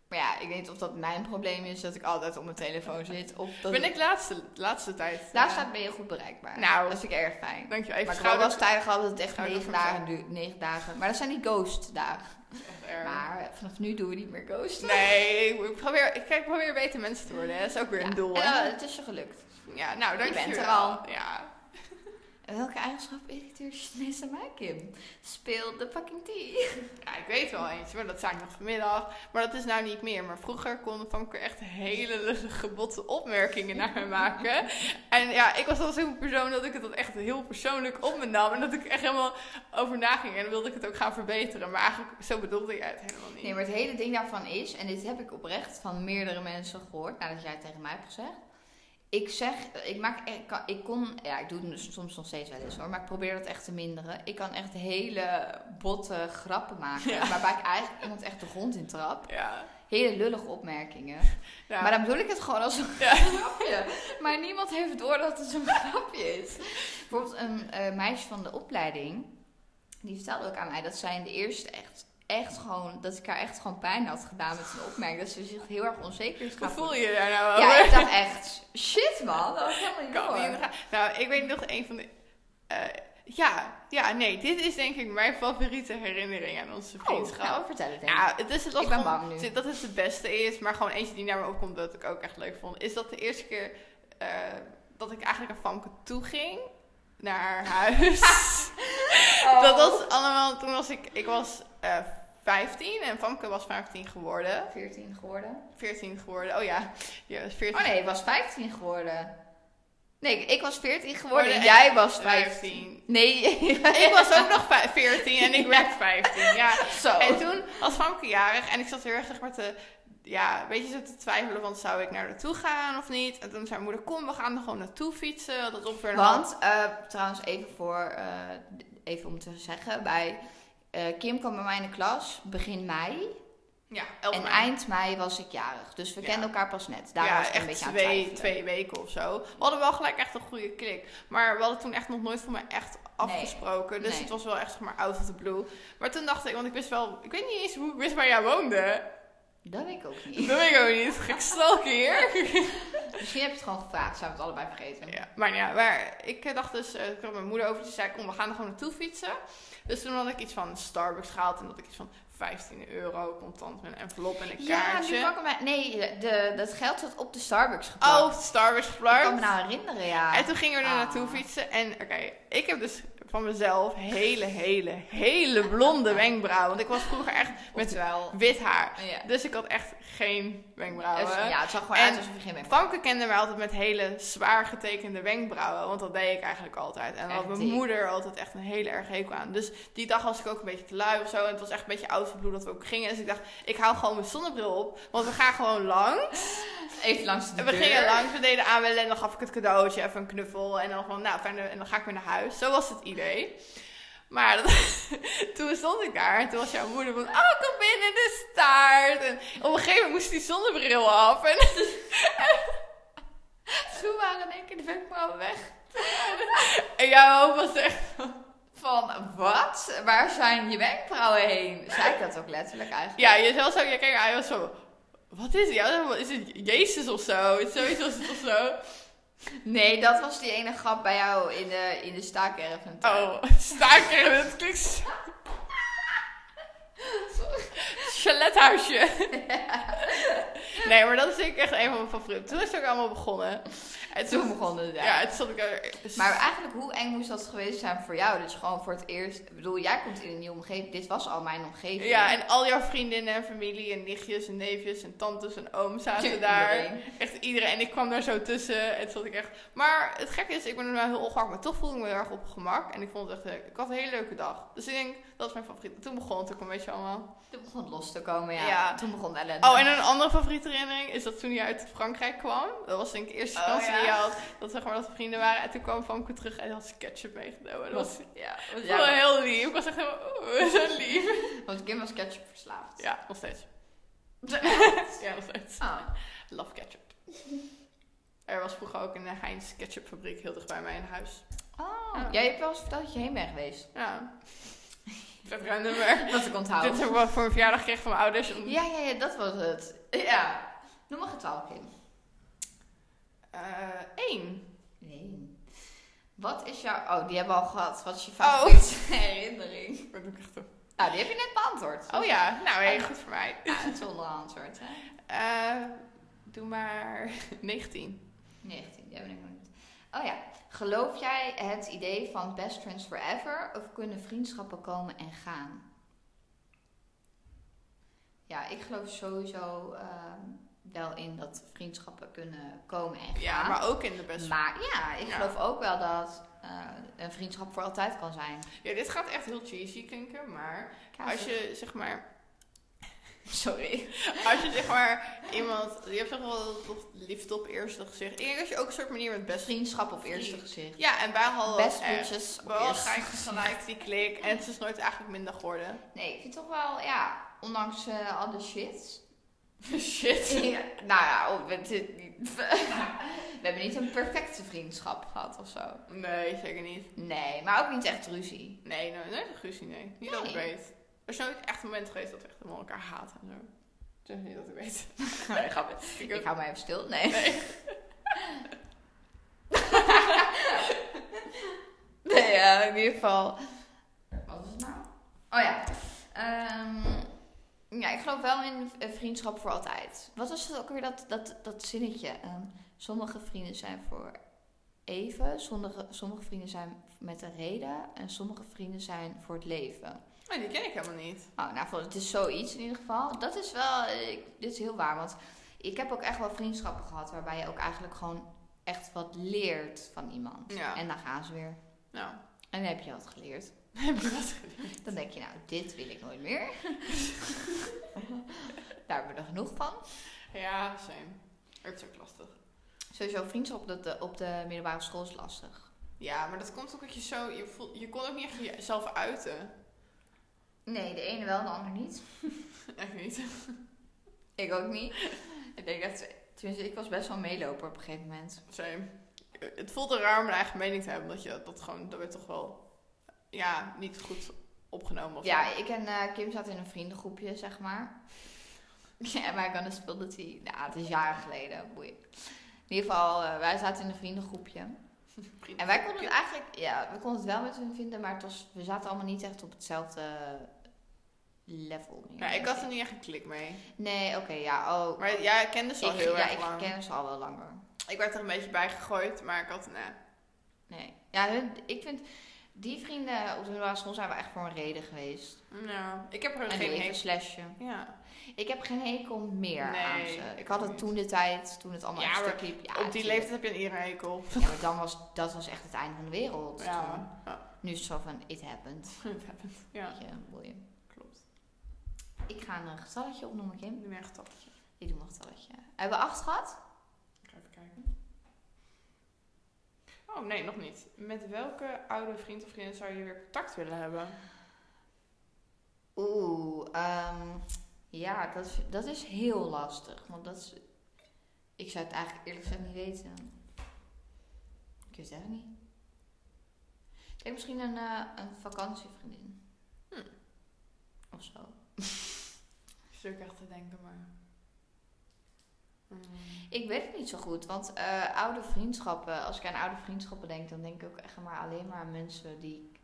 Maar ja, ik weet niet of dat mijn probleem is, dat ik altijd op mijn telefoon zit. Of dat ben ik laatste, laatste tijd. Laatst ben je goed bereikbaar. Nou. dat vind ik erg fijn. Dankjewel. Even maar ik heb schouder- Oh, wel eens tijden gehad dat het echt Schouder negen voor dagen duurt. Negen dagen. Maar dat zijn die ghost dagen. Echt erg. Maar eh, vanaf nu doen we niet meer ghosten. Nee, ik probeer, ik, kijk, ik probeer beter mensen te worden. hè. Dat is ook weer Ja. een doel. En, hè. eh, het is je gelukt. Ja, nou, je dankjewel. bent er al. Ja. En welke eigenschap irriteert je het meest aan mij, Kim? Speel de fucking tea. Ja, ik weet wel eentje, maar dat zei ik nog vanmiddag. Maar dat is nou niet meer. Maar vroeger kon Famke echt hele lullige botte opmerkingen naar me maken. En ja, ik was al zo'n persoon dat ik het dan echt heel persoonlijk op me nam. En dat ik echt helemaal over naging. En dan wilde ik het ook gaan verbeteren. Maar eigenlijk, zo bedoelde jij het helemaal niet. Nee, maar het hele ding daarvan is, en dit heb ik oprecht van meerdere mensen gehoord, nadat jij het tegen mij hebt gezegd. Ik zeg, ik maak, ik, kan, ik kon, ja, ik doe het dus soms nog steeds wel eens hoor, maar ik probeer dat echt te minderen. Ik kan echt hele botte grappen maken, Ja. waarbij ik eigenlijk iemand echt de grond in trap. Ja. Nou, Hele lullige opmerkingen. Ja. Maar dan bedoel ik het gewoon als een Ja. grapje. Maar niemand heeft door dat het een grapje is. Bijvoorbeeld een eh, meisje van de opleiding, die vertelde ook aan mij dat zij in de eerste echt, echt gewoon, dat ik haar echt gewoon pijn had gedaan met zijn opmerking. Dat ze zich heel erg onzeker is Hoe gaan voel voelen. je je daar nou over? Ja, ik dacht echt, shit man, dat was helemaal niet Ik kan niet door. meer- Nou, ik weet nog een van de. eh, ja, ja, nee, dit is denk ik mijn favoriete herinnering aan onze Oh, vriendschap. nou, vertel het even. Ja, het is het was Ik ben gewoon- bang nu. Dat het het beste is, maar gewoon eentje die naar me opkomt dat ik ook echt leuk vond. Is dat de eerste keer eh, dat ik eigenlijk aan Famke toe ging naar haar huis. Oh. Dat was allemaal, toen was ik, ik was eh 15 en Famke was 15 geworden. 14 Oh, geworden. 14 geworden, oh ja. Ja, was 14 Oh nee, ik was 15 geworden. Nee, ik- ik was 14 geworden en en jij was 15. Nee, Ik was ook nog vij- 14 en ik werd 15, ja. zo. En toen was Famke jarig en ik zat heel erg zeg maar te, ja, een beetje zo te twijfelen van zou ik naar naartoe gaan of niet. En toen zei mijn moeder, kom we gaan er gewoon naartoe fietsen, want dat is ongeveer een half- Want, eh, trouwens, even voor, eh, even om te zeggen, bij eh, Kim kwam bij mij in de klas begin mei. Ja, elf en maanden. eind mei was ik jarig. Dus we Oh, Ja. kenden elkaar pas net. Daar ja, was ik echt een beetje aan het twee, twijfelen. twee weken of zo. We hadden wel gelijk echt een goede klik. Maar we hadden toen echt nog nooit voor mij echt afgesproken. dus Nee. het was wel echt zeg maar out of the blue. Maar toen dacht ik, want ik wist wel, ik weet niet eens hoe ik wist waar jij woonde. Dat weet ik ook Dat niet. weet ik ook niet. Gekstalk hier. Misschien heb je het gewoon gevraagd. Zijn we het allebei vergeten. Ja, maar ja, maar ik eh, dacht dus, eh, ik had mijn moeder over, die zei, kom, we gaan er gewoon naartoe fietsen. Dus toen had ik iets van Starbucks gehaald en dat ik iets van 15 euro contant met een envelop en een Ja, kaartje. nu pakken wij... Nee, de, dat geld zat op de Starbucks geplakt. oh, Starbucks Ik kan me geplakt. nou herinneren, ja. En toen gingen we er Ah. naartoe fietsen en oké, ik heb dus van mezelf hele, hele, hele blonde wenkbrauwen. Want ik was vroeger echt met Oftewel... wit haar. Ja. Dus ik had echt geen Dus, wenkbrauwen. ja, het zag gewoon En- uit alsof je geen mee Famke kende mij altijd met hele zwaar getekende wenkbrauwen. Want dat deed ik eigenlijk altijd. En daar had Echt mijn dik. moeder altijd echt een hele erg hekel aan. Dus die dag was ik ook een beetje te lui of zo. En het was echt een beetje oud van bloed dat we ook gingen. Dus ik dacht, ik hou gewoon mijn zonnebril op. Want we gaan gewoon lang. Even langs de En we deur. gingen langs, we deden aanwellen. En dan gaf ik het cadeautje, even een knuffel. En dan van, nou fijn, en dan ga ik weer naar huis. Zo was het idee. Maar dat- toen stond ik daar en toen was jouw moeder van, oh, kom binnen, de staart. En op een gegeven moment moest die zonnebril af. En Toen waren in één keer de wenkbrauwen weg. En jouw oom was echt... Van wat? Waar zijn je wenkbrauwen heen? Zei ik dat ook letterlijk eigenlijk? Ja, je zelfs ook... Ja, kijk, hij was zo... Wat is het? Ja, wat Is het Jezus of zo? Het Zoiets was het of zo? Nee, dat was die ene grap bij jou in de, in de staakerf. en tuin. Oh, het staker. Het klinkt... zo- Chalethuisje. Nee, maar dat is denk ik echt een van mijn favorieten. Toen is het ook allemaal begonnen. En Toen toen- begon het, ja. Oh. Ja, het zat ik er. Maar eigenlijk, hoe eng moest dat geweest zijn voor jou? Dat je gewoon voor het eerst... Ik bedoel, jij komt in een nieuwe omgeving. Dit was al mijn omgeving. Ja, en al jouw vriendinnen en familie en nichtjes en neefjes en tantes en ooms zaten Tje, daar. iedereen. Echt iedereen. En ik kwam daar zo tussen. En toen zat ik echt... Maar het gekke is, ik ben er nou heel ongemakkelijk. Maar toch voelde ik me heel erg op mijn gemak. En ik vond het echt leuk. Ik had een hele leuke dag. Dus ik denk, dat is mijn favoriet. Toen begon het ook een beetje allemaal. Toen begon het los te komen, ja. Ja. Toen begon ellende. Oh, en een andere favoriete herinnering is dat toen hij uit Frankrijk kwam. Dat was denk ik de eerste Oh, vakantie die ja. hij had. Dat zeg maar dat we vrienden waren. En toen kwam Famke terug en had ze ketchup meegenomen. Dat was, ja, dat was Ja. wel heel lief. Ik was echt helemaal... Oeh, zo lief. Want Kim was ketchup verslaafd. Ja, nog steeds. Ja, nog steeds. Oh. Love ketchup. Er was vroeger ook een Heinz ketchupfabriek heel dicht bij mij in huis. Oh. Ja. Jij hebt wel eens verteld dat je heen bent geweest. Ja. Dat random maar. Dat ik Dit onthoud. heb ik wel voor mijn verjaardag gekregen van mijn ouders. Om- Mm-hmm. Ja, ja, ja, dat was het. Ja. Noem maar getal, Kim. Eh, één. Nee. Wat is jouw... Oh, die hebben we al gehad. Wat is je Oh. favoriete herinnering? Wat doe ik echt op? Nou, die heb je net beantwoord. Oh ja, nou heel goed voor mij. Ja, het zonder antwoord, hè. Eh, doe maar 19. 19, die hebben we nog niet. Oh ja. Geloof jij het idee van best friends forever? Of kunnen vriendschappen komen en gaan? Ja, ik geloof sowieso ehm, wel in dat vriendschappen kunnen komen en gaan. Ja, maar ook in de best. Maar Dus- ja, ik Ja. geloof ook wel dat eh, een vriendschap voor altijd kan zijn. Ja, dit gaat echt heel cheesy klinken, maar Kaas- als je zeg maar, Sorry. als je zeg maar iemand, je hebt toch wel toch liefde op eerste gezicht. Ik denk dat je ook een soort manier met best Vriendschap op eerste Vriend. gezicht. Ja, en wij hadden Best echt- bitches op We hadden eerste gelijk gelijk die klik en het is nooit eigenlijk minder geworden. Nee, ik vind toch wel, ja, ondanks eh al de shit. Shit. Ja, nou ja, oh, we, dit- we hebben niet een perfecte vriendschap gehad of zo. Nee, zeker niet. Nee, maar ook niet echt ruzie. Nee, nee, nooit een ruzie, nee. Niet dat ik Nee. weet. Er is nooit echt een moment geweest dat we echt helemaal elkaar haat en zo. Dus niet dat ik weet. Nee, grapje. Ik Ik heb- hou maar even stil. Nee. Nee. nee, ja, in ieder geval. Wat is het nou? Oh ja. Ehm, ja, ik geloof wel in eh, vriendschap voor altijd. Wat was het ook weer dat, dat, dat zinnetje? Ehm, sommige vrienden zijn voor even, sommige, sommige vrienden zijn met een reden en sommige vrienden zijn voor het leven. Nee, die ken ik helemaal niet. Oh, nou, vol- het is zoiets in ieder geval. Dat is wel, eh, ik- dit is heel waar. Want ik heb ook echt wel vriendschappen gehad waarbij je ook eigenlijk gewoon echt wat leert van iemand. Ja. En dan gaan ze weer. Nou, En dan heb je wat geleerd. heb je wat geleerd? Dan denk je, nou, dit wil ik nooit meer. Daar hebben we er genoeg van. Ja, same. Het is ook lastig. Sowieso vriendschap op de, op de middelbare school is lastig. Ja, maar dat komt ook dat je zo... Je, voelt, je kon ook niet echt jezelf uiten. Nee, de ene wel, de ander niet. Echt niet. Ik ook niet. ik denk dat, tenminste, ik was best wel een meeloper op een gegeven moment. Same. Het voelde raar om een eigen mening te hebben. Omdat je dat gewoon... Dat werd toch wel... Ja, niet goed opgenomen of zo. Ja, ik en eh, Kim zaten in een vriendengroepje, zeg maar. Ja, maar ik had een spul dat hij... Nou, het is jaren geleden, boeien. In ieder geval, eh, wij zaten in een vriendengroepje. En wij konden het eigenlijk... Ja, we konden het wel met hun vinden, maar het was, we zaten allemaal niet echt op hetzelfde level. meer, Ja, ik denk had er niet echt een klik mee. Nee, oké, ja, oh. Maar jij kende ze al ik, heel ja, erg lang. ik ken ze al wel langer. Ik werd er een beetje bij gegooid, maar ik had... Nou, Nee. Ja, hun, ik vind... Die vrienden op de middelbare school zijn we echt voor een reden geweest. nou ik heb er En geen even hekel. slashje. Ja, Ik heb geen hekel meer Nee, aan ze. Ik ik had ook het niet. toen de tijd, toen het allemaal Ja, een maar stuk liep. Ja, op die tuurlijk. leeftijd heb je een iedere hekel. Ja, maar dan was, dat was echt het einde van de wereld. toen. Ja, ja. Nu is het zo van, it happened. het happened. Ja, Weet je, boeien. klopt. Ik ga een getalletje opnoemen, Kim. Nu meer een topje. Ik doe een getalletje. Hebben we acht gehad? Ik ga even kijken. Oh, nee, nog niet. Met welke oude vriend of vriendin zou je weer contact willen hebben? Oeh, ehm, ja, dat, is- dat is heel lastig. Want dat is... Ik zou het eigenlijk eerlijk gezegd niet weten. Ik weet het echt niet. Ik denk misschien een, eh, een vakantievriendin. Hm. Of zo. Ik zit ook echt te denken, maar... Mm. Ik weet het niet zo goed, want eh, oude vriendschappen, als ik aan oude vriendschappen denk, dan denk ik ook echt maar alleen maar aan mensen die ik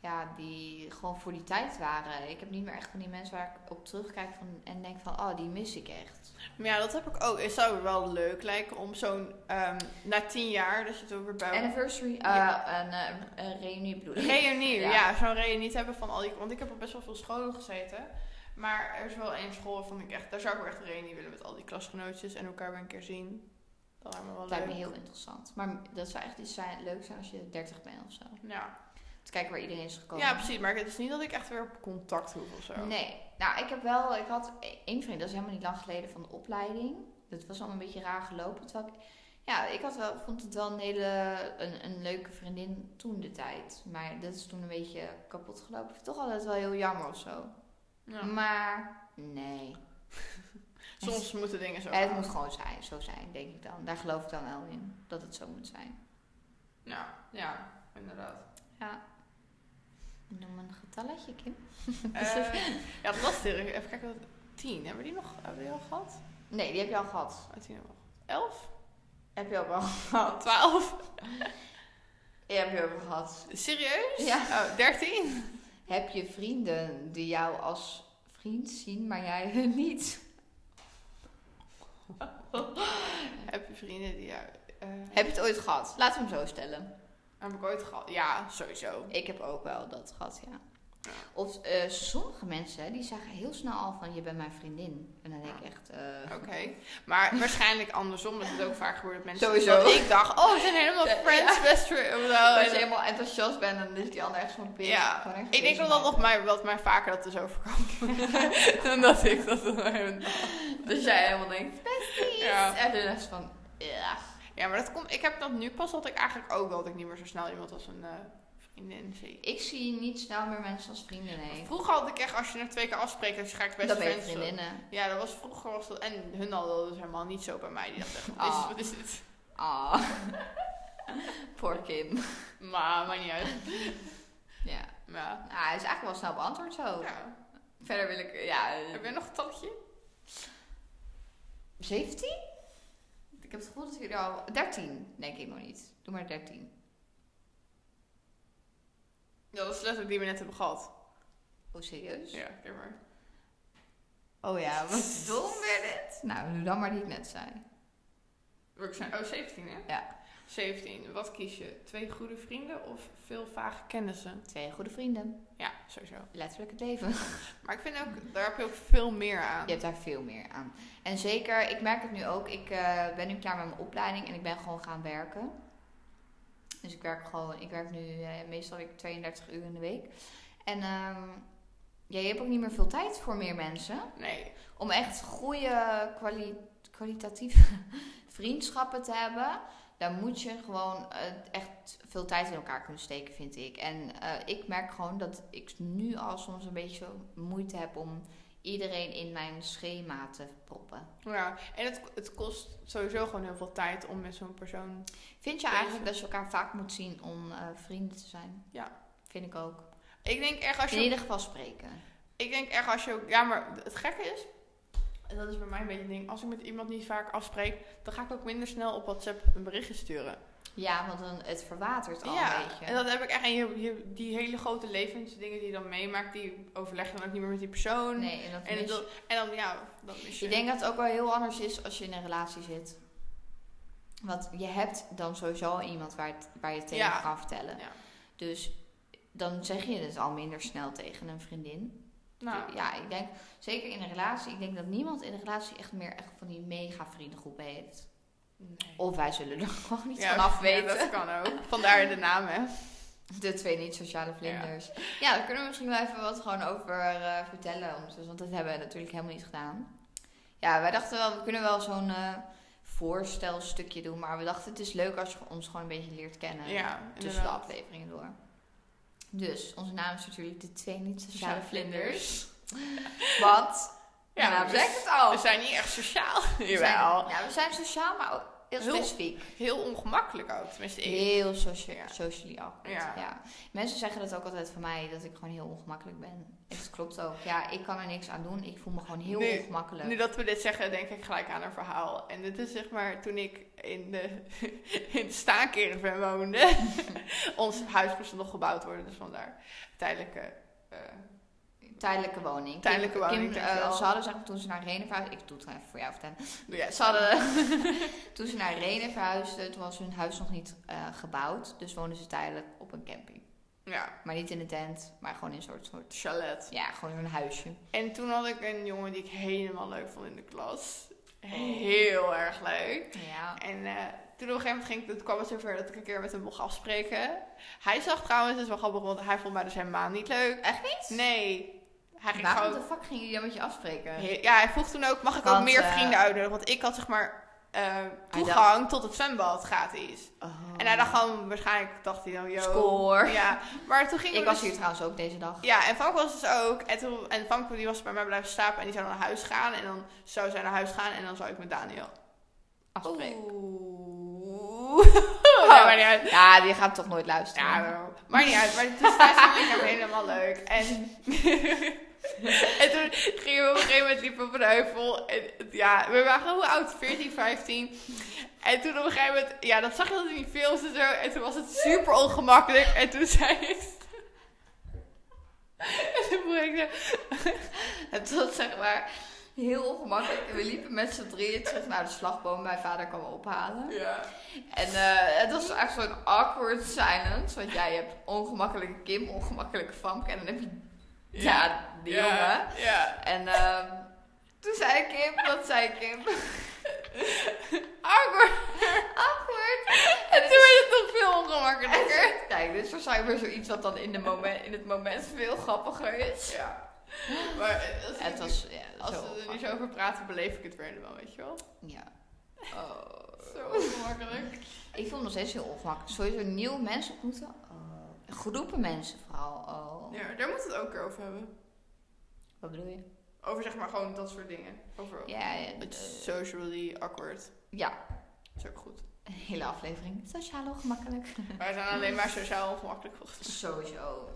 ja, die gewoon voor die tijd waren. Ik heb niet meer echt van die mensen waar ik op terugkijk van, en denk van, oh, die mis ik echt. Maar ja, dat heb ik ook. Het zou wel leuk lijken om zo'n... ehm, na tien jaar, dat je het over bij... Anniversary, eh Oh. Ja. een, eh, een reunie bedoel ik. Reunie, ja. Ja. zo'n reunie te hebben van al die... Want ik heb op best wel veel scholen gezeten. Maar er is wel één school waarvan ik echt... Daar zou ik wel echt een reunie willen met al die klasgenootjes en elkaar weer een keer zien. Dat lijkt me wel Dat lijkt me leuk. heel interessant. Maar dat zou echt iets zijn, leuk zijn als je 30 bent of zo. Ja. Te kijken waar iedereen is gekomen. ja, precies. Maar het is niet dat ik echt weer op contact hoef of zo. Nee. Nou, ik heb wel, ik had één vriend, dat is helemaal niet lang geleden van de opleiding. Dat was allemaal een beetje raar gelopen. Terwijl ik, ja, ik had wel, vond het wel een hele, een, een leuke vriendin toen de tijd. Maar dat is toen een beetje kapot gelopen. Ik vind het toch altijd wel heel jammer of zo. Ja. Maar, nee. Soms moeten dingen zo. Ja, het gaan. moet gewoon zijn, zo zijn, denk ik dan. Daar geloof ik dan wel in, dat het zo moet zijn. Ja, ja, inderdaad. Ja. Noem een getalletje, Kim. Eh, ja, dat was het. Even kijken. wat- Tien, hebben we die nog hebben we die al gehad? Nee, die heb je al gehad. Oh, tien hebben we al gehad. Elf? Heb je al wel gehad. Twaalf? Die heb je al wel gehad. Serieus? Ja. Oh, dertien? Heb je vrienden die jou als vriend zien, maar jij hun niet? Heb je vrienden die jou... eh, Heb je het ooit gehad? Laten we hem zo stellen. Heb ik ooit gehad? Ja, sowieso. Ik heb ook wel dat gehad, ja. Of eh, sommige mensen, die zeggen heel snel al van, je bent mijn vriendin. En dan denk ik echt... eh, Oké. Maar waarschijnlijk andersom. Dat het ook vaak gebeurt dat mensen... Sowieso. Dat ik dacht, oh, we zijn helemaal Ja, friends, best friends. of zo. Als je helemaal enthousiast bent, dan is die ander echt zo'n pik. Ja. Gewoon echt Ik denk dat wezen dat nog maken. mij, wat mij vaker dat is overkomen. Dan dat ik dat dan even... Dus jij helemaal denkt, besties. Ja. En de rest van, ja. Ja, maar dat komt. Ik heb dat nu pas dat ik eigenlijk ook wel dat ik niet meer zo snel iemand als een eh, vriendin zie. Ik zie niet snel meer mensen als vrienden, nee. Vroeger had ik echt, als je er twee keer afspreekt, dan ga ik best dat ben je friends. vriendinnen. Ja, dat was vroeger was dat. En hun hadden dat dus helemaal niet zo bij mij. Die dachten, echt, wat, is, Ah. wat is dit? Ah. Poor Kim. Maar maakt niet uit. Ja. Ja. Nou, hij is eigenlijk wel snel beantwoord zo. ja. Verder wil ik, ja... eh, Heb jij nog een talletje? 17? Ik heb het gevoel dat jullie al... 13, denk ik nog niet. Doe maar 13. Ja, dat is letterlijk die we net hebben gehad. Oh, serieus? Ja, kijk maar. Oh ja, wat dom weer dit. Nou, doe dan maar die ik net zei. Welke zijn? Oh, 17 hè? Ja. 17. Wat kies je? Twee goede vrienden of veel vage kennissen? Twee goede vrienden. Ja, sowieso. Letterlijk het leven. Maar ik vind ook, daar heb je ook veel meer aan. Je hebt daar veel meer aan. En zeker, ik merk het nu ook. Ik eh, ben nu klaar met mijn opleiding en ik ben gewoon gaan werken. Dus ik werk gewoon, ik werk nu eh, meestal heb ik 32 uur in de week. En ehm, ja, je hebt ook niet meer veel tijd voor meer mensen. Nee, Om echt goede kwali- kwalitatieve vriendschappen te hebben. Daar moet je gewoon eh, echt veel tijd in elkaar kunnen steken, vind ik. En eh, ik merk gewoon dat ik nu al soms een beetje moeite heb om iedereen in mijn schema te proppen. Ja, en het, het kost sowieso gewoon heel veel tijd om met zo'n persoon. Vind je eigenlijk dat je elkaar vaak moet zien om eh, vrienden te zijn? Ja. Vind ik ook. Ik denk echt als In je. ieder geval spreken. Ik denk echt als je. Ja, maar het gekke is. En dat is bij mij een beetje een ding. Als ik met iemand niet vaak afspreek, dan ga ik ook minder snel op WhatsApp een berichtje sturen. Ja, want dan, het verwatert al ja, een beetje. en dat heb ik echt. En je, je- die hele grote levensdingen die je dan meemaakt, die overleg je dan ook niet meer met die persoon. nee, en dat en, mis dat, en dan, ja, dat mis je. Ik denk dat het ook wel heel anders is als je in een relatie zit. Want je hebt dan sowieso al iemand waar, het- waar je het tegen Ja. kan vertellen. Ja. Dus dan zeg je het al minder snel tegen een vriendin. Nou, Ja, ik denk, zeker in een relatie, ik denk dat niemand in een relatie echt meer echt van die mega vriendengroepen heeft. nee. Of wij zullen er gewoon niet Ja, vanaf ja, weten. dat kan ook. Vandaar de naam, hè? De twee niet-sociale vlinders. Ja. daar kunnen we misschien wel even wat gewoon over eh, vertellen. ondertussen, Want dat hebben we natuurlijk helemaal niet gedaan. Ja, wij dachten wel, we kunnen wel zo'n eh, voorstelstukje doen. Maar we dachten, het is leuk als je ons gewoon een beetje leert kennen. Ja, tussen inderdaad. de afleveringen door. Dus, onze naam is natuurlijk de twee niet-sociale Sociale vlinders. Want, ja, Ja, nou, we, zeg het al. Oh, we zijn niet echt sociaal. We Jawel. zijn- ja, we zijn sociaal, maar ook heel Heel- specifiek. Heel ongemakkelijk ook. Tenminste, ik. Heel socia- Ja. socially awkward. Ja. Ja. Mensen zeggen dat ook altijd van mij, dat ik gewoon heel ongemakkelijk ben. Het klopt ook. Ja, ik kan er niks aan doen. Ik voel me gewoon heel Nu- ongemakkelijk. Nu dat we dit zeggen, denk ik gelijk aan een verhaal. En dit is zeg maar toen ik in de, in de Staakerven woonde. Ons huis moest nog gebouwd worden, dus vandaar tijdelijke... eh, Tijdelijke woning. Kim- Tijdelijke woning, Kim, eh, dankjewel. ze hadden zeg maar, toen ze naar Renen verhuisden... Ik doe het gewoon even voor jou vertellen. nou ja, Ze hadden, toen ze naar Renen verhuisden, toen was hun huis nog niet eh, gebouwd. Dus woonden ze tijdelijk op een camping. Ja, Maar niet in een tent, maar gewoon in een soort... soort chalet. ja, gewoon zo'n huisje. En toen had ik een jongen die ik helemaal leuk vond in de klas. Oh. Heel erg leuk. Ja. En eh, toen op een gegeven moment ging, ik- toen kwam het zover dat ik een keer met hem mocht afspreken. Hij zag trouwens, het is wel grappig, want hij vond mij dus helemaal niet leuk. Echt niet? Nee. Hij ging Waarom gewoon... de fuck gingen jullie dan met je afspreken? He- Ja, hij vroeg toen ook, mag ik ook Want, meer eh, vrienden uitnodigen? Want ik had zeg maar eh, dacht- toegang tot het zwembad gratis. Oh. En hij dacht gewoon, waarschijnlijk dacht hij dan, yo. Score. Ja, maar toen gingen Ik we was dus- hier trouwens ook deze dag. Ja, en Frank was dus ook. En, toen, en Frank die was bij mij blijven slapen en die zou naar huis gaan. En dan zou zij naar huis gaan en dan zou ik met Daniel Afspreken. Oeh. nee, maar niet uit. Oh. Ja, die gaat toch nooit luisteren. Ja, wel. maar niet uit. Maar toen vond ik hem helemaal leuk. En, en toen gingen we op een gegeven moment liepen op een heuvel. En ja, we waren hoe oud? 14, 15. En toen op een gegeven moment, ja, dat zag je altijd in die films en zo. En toen was het super ongemakkelijk. En toen zei ik. En toen vroeg ik ze, Het was zeg maar heel ongemakkelijk. En We liepen met z'n drieën terug naar de slagboom. Mijn vader kwam me ophalen. Ja. En eh, het was echt zo'n awkward silence. Want jij hebt ongemakkelijke Kim, ongemakkelijke Famke. En dan heb je ja, die jongen. Ja. En ehm, toen zei Kim, wat zei Kim? awkward. Awkward. het En toen is- werd het nog veel ongemakkelijker. En- Kijk, dit is waarschijnlijk weer zoiets wat dan in, de moment, in het moment veel grappiger is. Ja. Maar eh, als, En het ik- was, ja, als zo we er nu awkward. zo over praten, beleef ik het weer helemaal, weet je wel. Ja. Oh. Zo ongemakkelijk. Ik voel me nog steeds heel ongemakkelijk. Sowieso nieuwe mensen ontmoeten. Oh. Groepen mensen vooral. Oh. Ja, daar moeten we het ook een keer over hebben. Wat bedoel je? Over zeg maar gewoon dat soort dingen. Over Ja, ja, het eh, socially awkward. ja, Dat is ook goed. een hele aflevering. Sociaal ongemakkelijk. Wij zijn alleen maar sociaal ongemakkelijk volgens mij. Sowieso.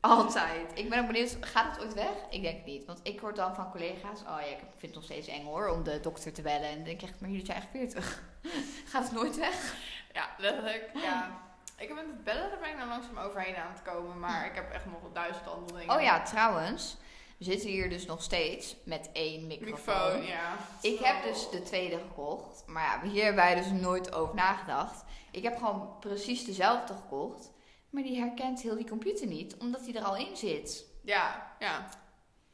Altijd. Ik ben ook benieuwd, gaat het ooit weg? Ik denk het niet. Want ik hoor dan van collega's, oh ja, ik vind het nog steeds eng hoor, om de dokter te bellen. En dan denk ik echt, maar jullie zijn echt 40. gaat het nooit weg? Ja, letterlijk. Ja. Ik heb met het bellen, daar ben ik nou langzaam overheen aan het komen. Maar ik heb echt nog wel duizend andere dingen. Oh ja, trouwens. We zitten hier dus nog steeds met één microfoon. Microfoon, ja. Ik Zo. heb dus de tweede gekocht. Maar ja, hier hebben wij dus nooit over nagedacht. Ik heb gewoon precies dezelfde gekocht. Maar die herkent heel die computer niet, omdat die er al in zit. Ja, ja.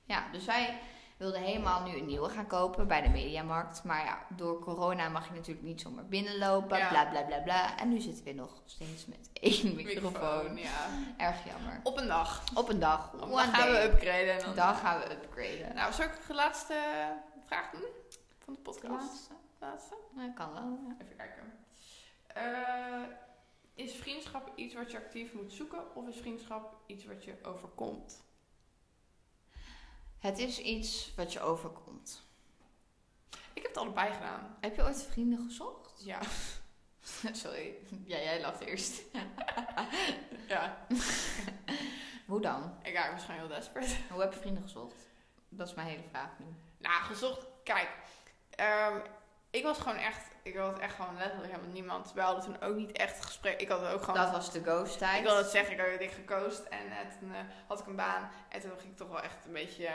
Ja, dus wij wilden helemaal nu een nieuwe gaan kopen bij de Mediamarkt. Maar ja, door corona mag je natuurlijk niet zomaar binnenlopen. Ja. Bla bla bla bla. En nu zitten we nog steeds met één microfoon. ja. Erg jammer. Op een dag. Op een dag. Dan one gaan we day. upgraden. En dan... Dan gaan we upgraden. Nou, zou ik de laatste vraag doen? Van de De podcast? laatste? Laatste? Ja, kan wel. ja. Even kijken. Eh, is vriendschap iets wat je actief moet zoeken? Of is vriendschap iets wat je overkomt? Het is iets wat je overkomt. Ik heb het allebei gedaan. Heb je ooit vrienden gezocht? Ja. Sorry. Ja, jij lacht eerst. ja. Hoe dan? Ik raak waarschijnlijk heel desperate. Hoe heb je vrienden gezocht? Dat is mijn hele vraag nu. Nou, gezocht. Kijk, ehm, ik was gewoon echt. Ik had echt gewoon letterlijk helemaal niemand. We hadden toen ook niet echt gesprek. Ik had ook gewoon. Dat was de ghost tijd. Ik wil het zeggen, ik had dik gecoacht en eh, toen eh, had ik een baan. En toen ging ik toch wel echt een beetje, eh,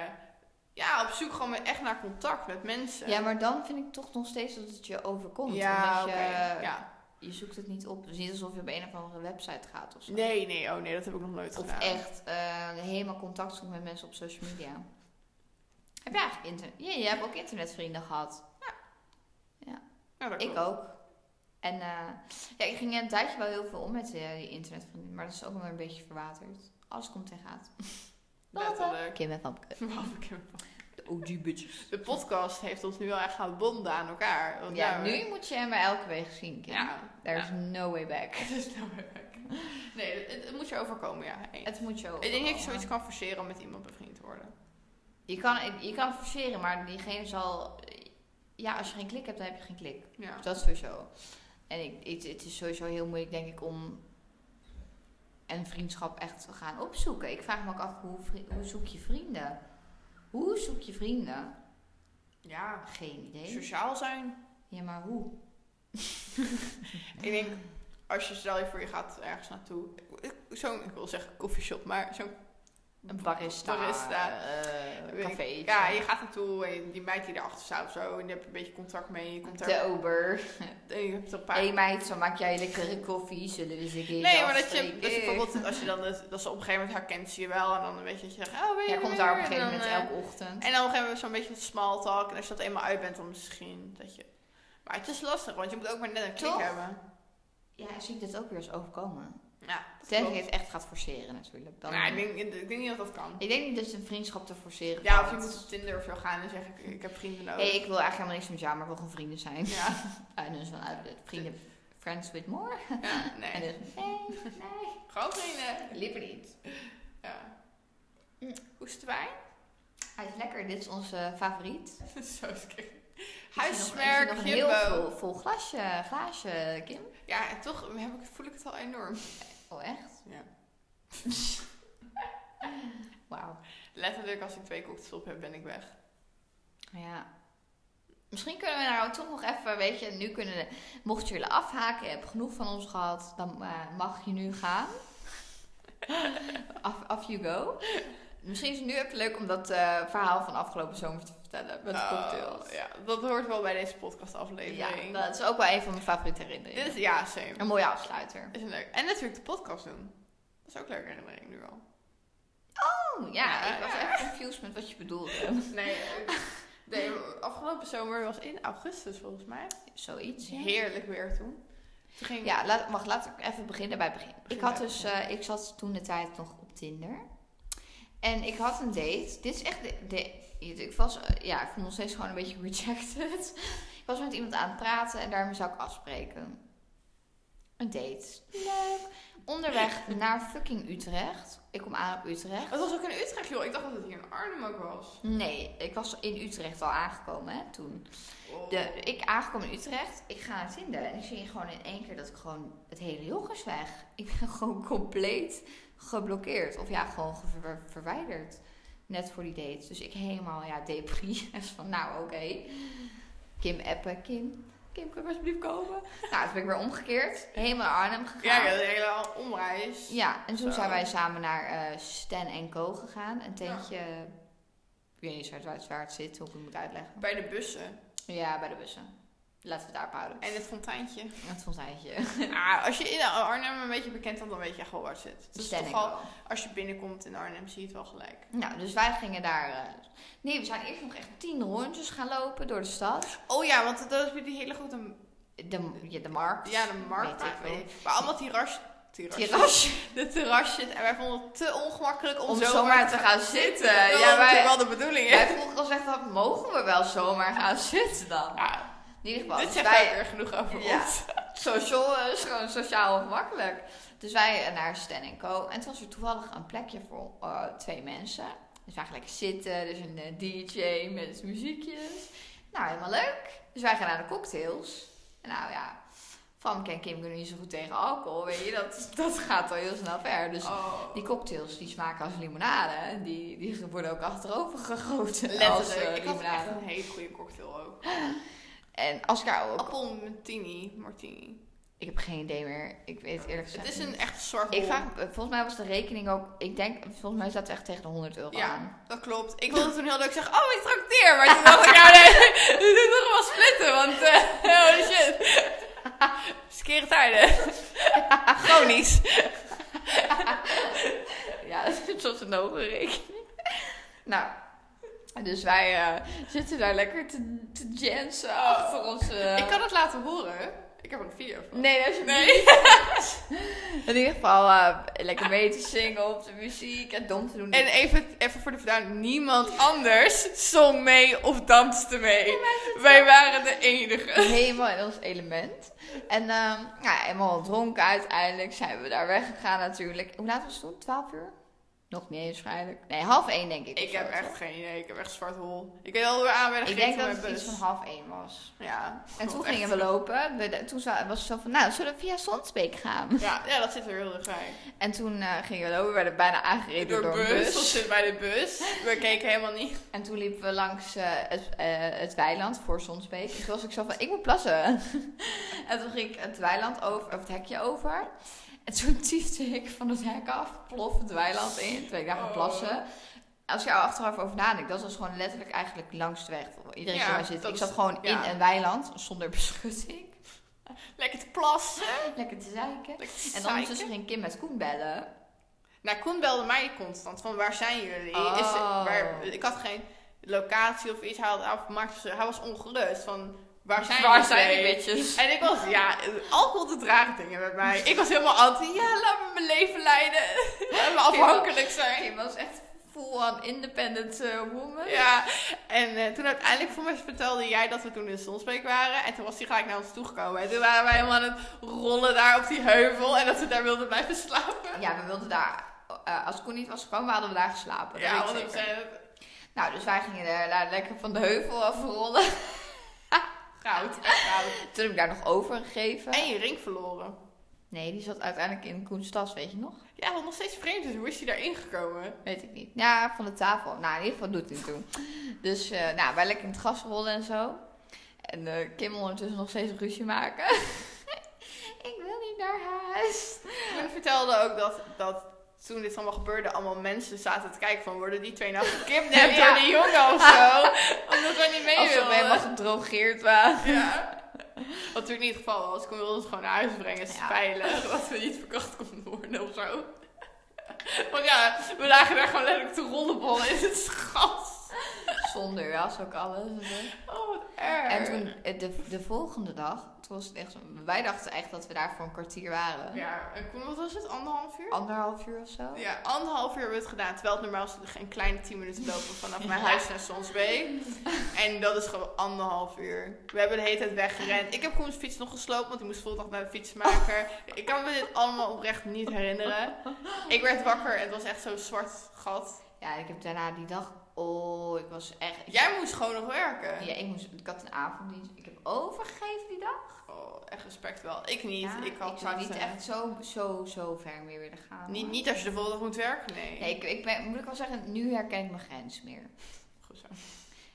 ja, op zoek gewoon met- echt naar contact met mensen. Ja, maar dan vind ik toch nog steeds dat het je overkomt. Eh, Ja, omdat je, oké, ja. je zoekt het niet op. Het is niet alsof je op een of andere website gaat of zo. Nee, nee, oh nee, dat heb ik nog nooit Of gedaan. echt eh, helemaal contact zoeken met mensen op social media. Heb je eigenlijk internet? Ja, je hebt ook internetvrienden gehad. Ja, dat Ik klopt. ook. En eh, ja, ik ging een tijdje wel heel veel om met eh, die internetvrienden, maar dat is ook wel een beetje verwaterd. Alles komt en gaat. Letterlijk. Kim en Famke. De OG bitches. De podcast heeft ons nu wel echt gaan bonden aan elkaar. Want Ja, we- nu moet je hem bij elke week zien, Kim. Ja. There's no way back. Het is nou weer weg. Nee, het, het moet je overkomen, ja. Hey. Het moet je ook. Ik denk dat je zoiets kan forceren om met iemand bevriend te worden. Je kan, je kan het forceren, maar diegene zal... ja, als je geen klik hebt, dan heb je geen klik. Ja. Dat sowieso. En ik, het, het is sowieso heel moeilijk, denk ik, om een vriendschap echt te gaan opzoeken. Ik vraag me ook af, hoe, vri- hoe zoek je vrienden? Hoe zoek je vrienden? Ah, ja. Geen idee. Sociaal zijn. Ja, maar hoe? Ik denk, als je stel je voor je gaat ergens naartoe. ik- Zo'n, ik wil zeggen koffieshop, maar zo'n... Een barista. Barista. eh, weet ik- café. Ja, je gaat naartoe en die meid die erachter staat of zo. En daar heb je een beetje contact mee. Je komt daar... De ober. en je hebt een paar... Hé meid, zo maak jij lekkere koffie. Zullen we eens een keer Nee, maar dat je, afspreken? dat je bijvoorbeeld, als je dan, het- dat ze op een gegeven moment herkent ze je wel. En dan weet je dat je zegt, oh, ben je Jij er komt weer? daar op een En gegeven dan, moment eh, elke ochtend. En dan hebben we zo'n beetje small talk. En als je dat eenmaal uit bent, dan misschien dat je... Maar het is lastig, want je moet ook maar net een klik Toch? hebben. Ja, zie ik dit ook weer eens overkomen. Ja, dat Tenzij klopt. je het echt gaat forceren natuurlijk. Dan... Nou, ik, denk, ik denk niet dat dat kan. Ik denk niet dat je een vriendschap te forceren Ja, of je valt. moet op Tinder of zo gaan en zeggen, ik, ik heb vrienden nodig. Hé, ik wil eigenlijk helemaal niks met jou, maar ik wil gewoon vrienden zijn. Ja, En dus van uit het vrienden... Friends with more. ja, En nee. dus... Nee, nee. Gewoon vrienden. Liever niet. Ja. Mm. Hoestwijn? Hij is lekker. Dit is onze favoriet. Zo scherp. Huismerk, Huismerk, nog, een heel Jumbo. vol, vol glasje, glaasje, Kim. Ja, en toch heb ik, voel ik het al enorm. Oh, echt? Ja. Wauw. Letterlijk, als ik twee cocktails op heb, ben ik weg. Ja. Misschien kunnen we nou toch nog even, weet je, nu kunnen we, mocht je willen afhaken, je hebt genoeg van ons gehad, dan eh, mag je nu gaan. Af af you go. Misschien is het nu even leuk om dat eh, verhaal van afgelopen zomer te vertellen met de Oh, cocktails. Ja, dat hoort wel bij deze podcastaflevering. Ja, dat is ook wel een van mijn favoriete Dit is, herinneringen. ja, same. Een mooie afsluiter. Is een leuk. En natuurlijk de podcast doen. Dat is ook een leuke herinnering nu al. Oh, ja, Ja, ik was ja. echt confused met wat je bedoelde. Nee, eh, afgelopen zomer was in augustus volgens mij. Zoiets. ja. Heerlijk weer toen. Toen ging Ja, laat, wacht, laat ik even beginnen bij het begin. Begin ik, had bij het dus, begin. eh, ik zat toen de tijd nog op Tinder. En ik had een date. Dit is echt de... de ik was, eh, ja, ik voel me nog steeds gewoon een beetje rejected. ik was met iemand aan het praten en daarmee zou ik afspreken. Een date. Leuk. Onderweg naar fucking Utrecht. Ik kom aan op Utrecht. Het was ook in Utrecht, joh. Ik dacht dat het hier in Arnhem ook was. Nee, ik was in Utrecht al aangekomen hè, toen. Oh. De, ik aangekomen in Utrecht, ik ga naar Tinder en ik zie gewoon in één keer dat ik gewoon het hele jog is weg. Ik ben gewoon compleet geblokkeerd. Of ja, gewoon ge- ver- verwijderd. Net voor die date. Dus ik helemaal, ja, depri. En ze van, nou oké. Kim appen, Kim. Kim, kun je alsjeblieft komen? nou, toen ben ik weer omgekeerd. Helemaal naar Arnhem Ja, gegaan. ja, de hele omreis. Ja, en toen Zo. zijn wij samen naar eh Stan en Co gegaan. Een tentje, ik weet niet eens waar het, waar het zit, hoe ik het moet uitleggen. Bij de bussen. Ja, bij de bussen. Laten we het daar houden. En het fonteintje. Dat vond hij je. ah, als je in Arnhem een beetje bekend bent, dan weet je echt wel waar het zit. Dus Stan toch en al, Co. als je binnenkomt in Arnhem, zie je het wel gelijk. Nou, dus wij gingen daar... eh, nee, we zijn eerst nog echt tien rondjes gaan lopen door de stad. Oh ja, want dat is weer die hele goede... De, ja, de markt. Ja, de markt. Weet ik Maar, wel. maar allemaal terras... terras- Terras. De terrasjes. En wij vonden het te ongemakkelijk om, Om zo zomaar maar te gaan zitten. Ja, Terwijl- wij- terwijl de bedoeling Wij is. vroegen ons echt af, mogen we wel zomaar gaan zitten dan? Ja, In ieder geval, dit dus zegt wij- ook weer genoeg over Ja. ons. social, eh, is gewoon sociaal ongemakkelijk. Dus wij eh, naar Stan Co. En toen was er toevallig een plekje voor eh, twee mensen. Dus wij gaan lekker zitten. Dus een eh, DJ met muziekjes. Nou, helemaal leuk. Dus wij gaan naar de cocktails. En Nou ja, Famke en Kim kunnen niet zo goed tegen alcohol, weet je. Dat, dat gaat al heel snel ver. Dus Oh. die cocktails, die smaken als limonade. En die, die worden ook achterover gegoten als Letterlijk. eh, ik had echt limonade. een hele goede cocktail ook. En als ik daar ook... Appel martini. martini. Ik heb geen idee meer. Ik weet eerlijk gezegd Het is niet. een echt zorg. Ik vraag, eh, volgens mij was de rekening ook, ik denk, volgens mij staat het echt tegen de 100 euro aan. Ja, dat klopt. Ik wilde toen heel leuk zeggen, oh, ik trakteer. Maar toen dacht ik, nou nee, dit is toch wel splitten, want eh holy shit. Skere tijden. Chronisch. Ja, dat is soms een hoge rekening. Nou, dus wij eh, zitten daar lekker te, te jansen achter ons. eh, Oh. Ik kan het laten horen. Ik heb er een video van. Nee, dat is Nee. In ieder geval eh, lekker mee te zingen op de muziek en dom te doen. En even, even voor de verduiding, niemand anders zong mee of danste mee. Wij waren de enige. helemaal in ons element. En ehm ja, helemaal dronken uiteindelijk zijn we daar weggegaan natuurlijk. Hoe laat was het toen? 12 uur? Nog niet eens waarschijnlijk. Nee, half één denk ik. Ik of zo, heb toch? echt geen idee. Ik heb echt zwart hol. Ik weet wel hoe we aan werden Ik denk gereden dat het van mijn iets bus. van half één was. Ja. En God, toen echt. gingen we lopen. We, de- toen za- was het zo van, nou, zullen we via Sondsbeek gaan? Ja, ja, dat zit er heel dichtbij. En toen eh, gingen we lopen. We werden bijna aangereden door, een bus. Of zit bij de bus. We keken helemaal niet. En toen liepen we langs eh, het, eh, het weiland voor Sonsbeek. En toen was ik zo van, ik moet plassen. en toen ging ik het weiland over, of het hekje over. En toen tiefde ik van het hek af, plof het weiland in. Toen ben ik daar gaan Oh. plassen. Als je er achteraf over nadenkt, dat was gewoon letterlijk eigenlijk langs de weg. Iedereen Ja, zou maar zitten. dat Ik is- zat gewoon ja. in een weiland, zonder beschutting. Lekker te plassen. Lekker te zeiken. Lekker te En zeiken. ondertussen ging Kim met Koen bellen. Nou, Koen belde mij constant van waar zijn jullie? Oh. Is waar, ik had geen locatie of iets. Hij, had, hij maakte- hij was ongerust van waar zijn Waar jullie? zijn die bitches? En ik was, ja, alcohol te dragen dingen met mij. Ik was helemaal anti, ja, laat me mijn leven leiden. laat me afhankelijk zijn. Kim was echt full-on independent eh, woman. Ja, en eh, toen uiteindelijk voor mij vertelde jij dat we toen in Sonsbeek waren. En toen was hij gelijk naar ons toegekomen. En toen waren wij helemaal aan het rollen daar op die heuvel. En dat we daar wilden blijven slapen. Ja, we wilden daar. eh, als Koen niet was gekomen, hadden we daar geslapen. Ja, Ja, want ik zei, Nou, dus wij gingen daar daar lekker van de heuvel afrollen. goud, echt goud. Toen heb ik daar nog overgegeven. En je ring verloren. Nee, die zat uiteindelijk in Koens tas, weet je nog? Ja, wat nog steeds vreemd is. Hoe is hij daarin gekomen? Weet ik niet. Ja, van de tafel. Nou, in ieder geval doet hij het toen. Dus eh, nou, wij lekker in het gas rollen en zo. En eh, Kim ondertussen nog steeds ruzie maken. ik wil niet naar huis. Toen vertelde ook dat, dat toen dit allemaal gebeurde, allemaal mensen zaten te kijken van... Worden die twee nou gekidnapt Ja. door die jongen of zo? Omdat wij niet mee Alsof we wilden. helemaal gedrogeerd waren. Ja. Wat natuurlijk niet het geval was. Ik wilde het gewoon naar huis brengen. Het is Ja. veilig. Dat we niet verkracht konden worden of zo. Want ja, we lagen daar gewoon letterlijk te rollenballen in het gat. Zonder jas ook alles. Oh, wat erg. En toen, eh, de, de volgende dag, toen was het echt zo- wij dachten echt dat we daar voor een kwartier waren. Ja, en Koen, wat was het? Anderhalf uur? Anderhalf uur of zo. Ja, anderhalf uur hebben we het gedaan. Terwijl het normaal is dat we geen kleine tien minuten lopen vanaf mijn huis naar Sonsbeek. En dat is gewoon anderhalf uur. We hebben de hele tijd weggerend. Ik heb Koens fiets nog gesloopt, want die moest volgende dag naar de fietsmaker. Ik kan me dit allemaal oprecht niet herinneren. Ik werd wakker en het was echt zo'n zwart gat. Ja, ik heb daarna die dag, oh, ik was echt... ik- Jij moest gewoon nog werken. Ja, ik, moest, ik had een avonddienst. Ik heb overgegeven die dag. Oh, echt respect wel. Ik niet. Ja, ik had zou niet eh, echt zo, zo, zo ver meer willen gaan. Niet, hoor. niet als je de volgende dag moet werken, nee. Nee, ik, ik ben, moet ik wel zeggen, nu herken ik mijn grens meer. Goed zo.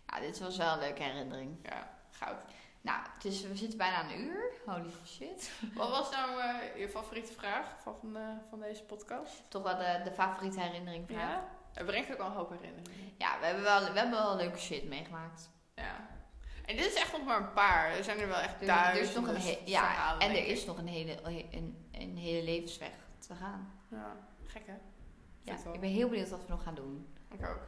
Ja, dit was wel een leuke herinnering. Ja, goud. Nou, het is, we zitten bijna een uur. Holy shit. Wat was nou eh, je favoriete vraag van, eh, van deze podcast? Toch wel de, de favoriete herinnering van jou? Ja, het brengt ook al een hoop herinneringen. Ja, we hebben wel, we hebben wel leuke shit meegemaakt. Ja. En dit is echt nog maar een paar. Er zijn er wel echt Er, duizenden er is nog een he- ja, verhalen, en er denk ik. is nog een hele, een, een hele levensweg te gaan. Ja, gek hè? Ja, Vet wel. ik ben heel benieuwd wat we nog gaan doen. Ik ook.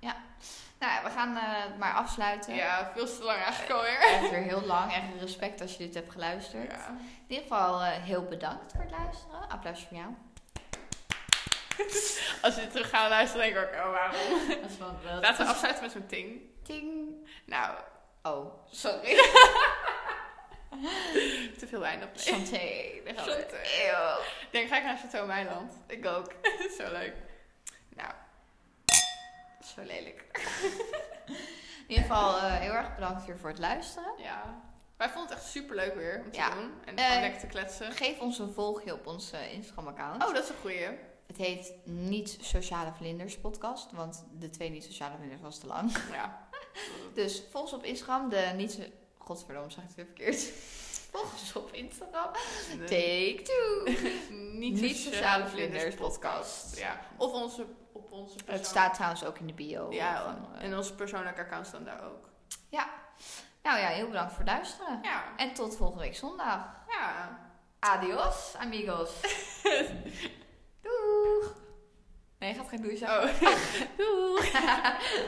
Nou, ja, we gaan eh, het maar afsluiten. Ja, veel te lang eigenlijk alweer. Echt weer heel lang. Echt respect als je dit hebt geluisterd. Ja. In ieder geval eh, heel bedankt voor het luisteren. Applausje voor jou. Als we dit terug gaan luisteren, denk ik ook, oh waarom? Dat is wel wel. Laten we afsluiten met zo'n ting. Ting. Nou, Oh, sorry. te veel wijn op. Nee. chanté. Daar gaan we. Chanté. Eeuw. Ik denk, ga ik naar Chateau Meiland. Ik ook. Zo leuk. Nou, Zo lelijk. In ieder geval eh, heel erg bedankt weer voor het luisteren. ja. Wij vonden het echt superleuk weer om te Ja. doen. En Eh, gewoon lekker te kletsen. Geef ons een volgje op ons eh, Instagram-account. Oh, dat is een goeie. Het heet Niet Sociale Vlinders podcast, want de twee Niet Sociale Vlinders was te lang. Ja. Dus volg ons op Instagram, de Niet... so- Godverdomme, zag ik het weer verkeerd. Volg ons op Instagram. Take two. niet, Niet sociale vlinders podcast. Ja. Ja. Of onze, op onze persoon- Het staat trouwens ook in de bio. Ja, van, eh, en onze persoonlijke accounts staan daar ook. Nou ja, heel bedankt voor het luisteren. Ja. En tot volgende week zondag. Ja. Adios, amigos. Doeg. Nee, gaat geen doei zeggen. Oh. Doeg.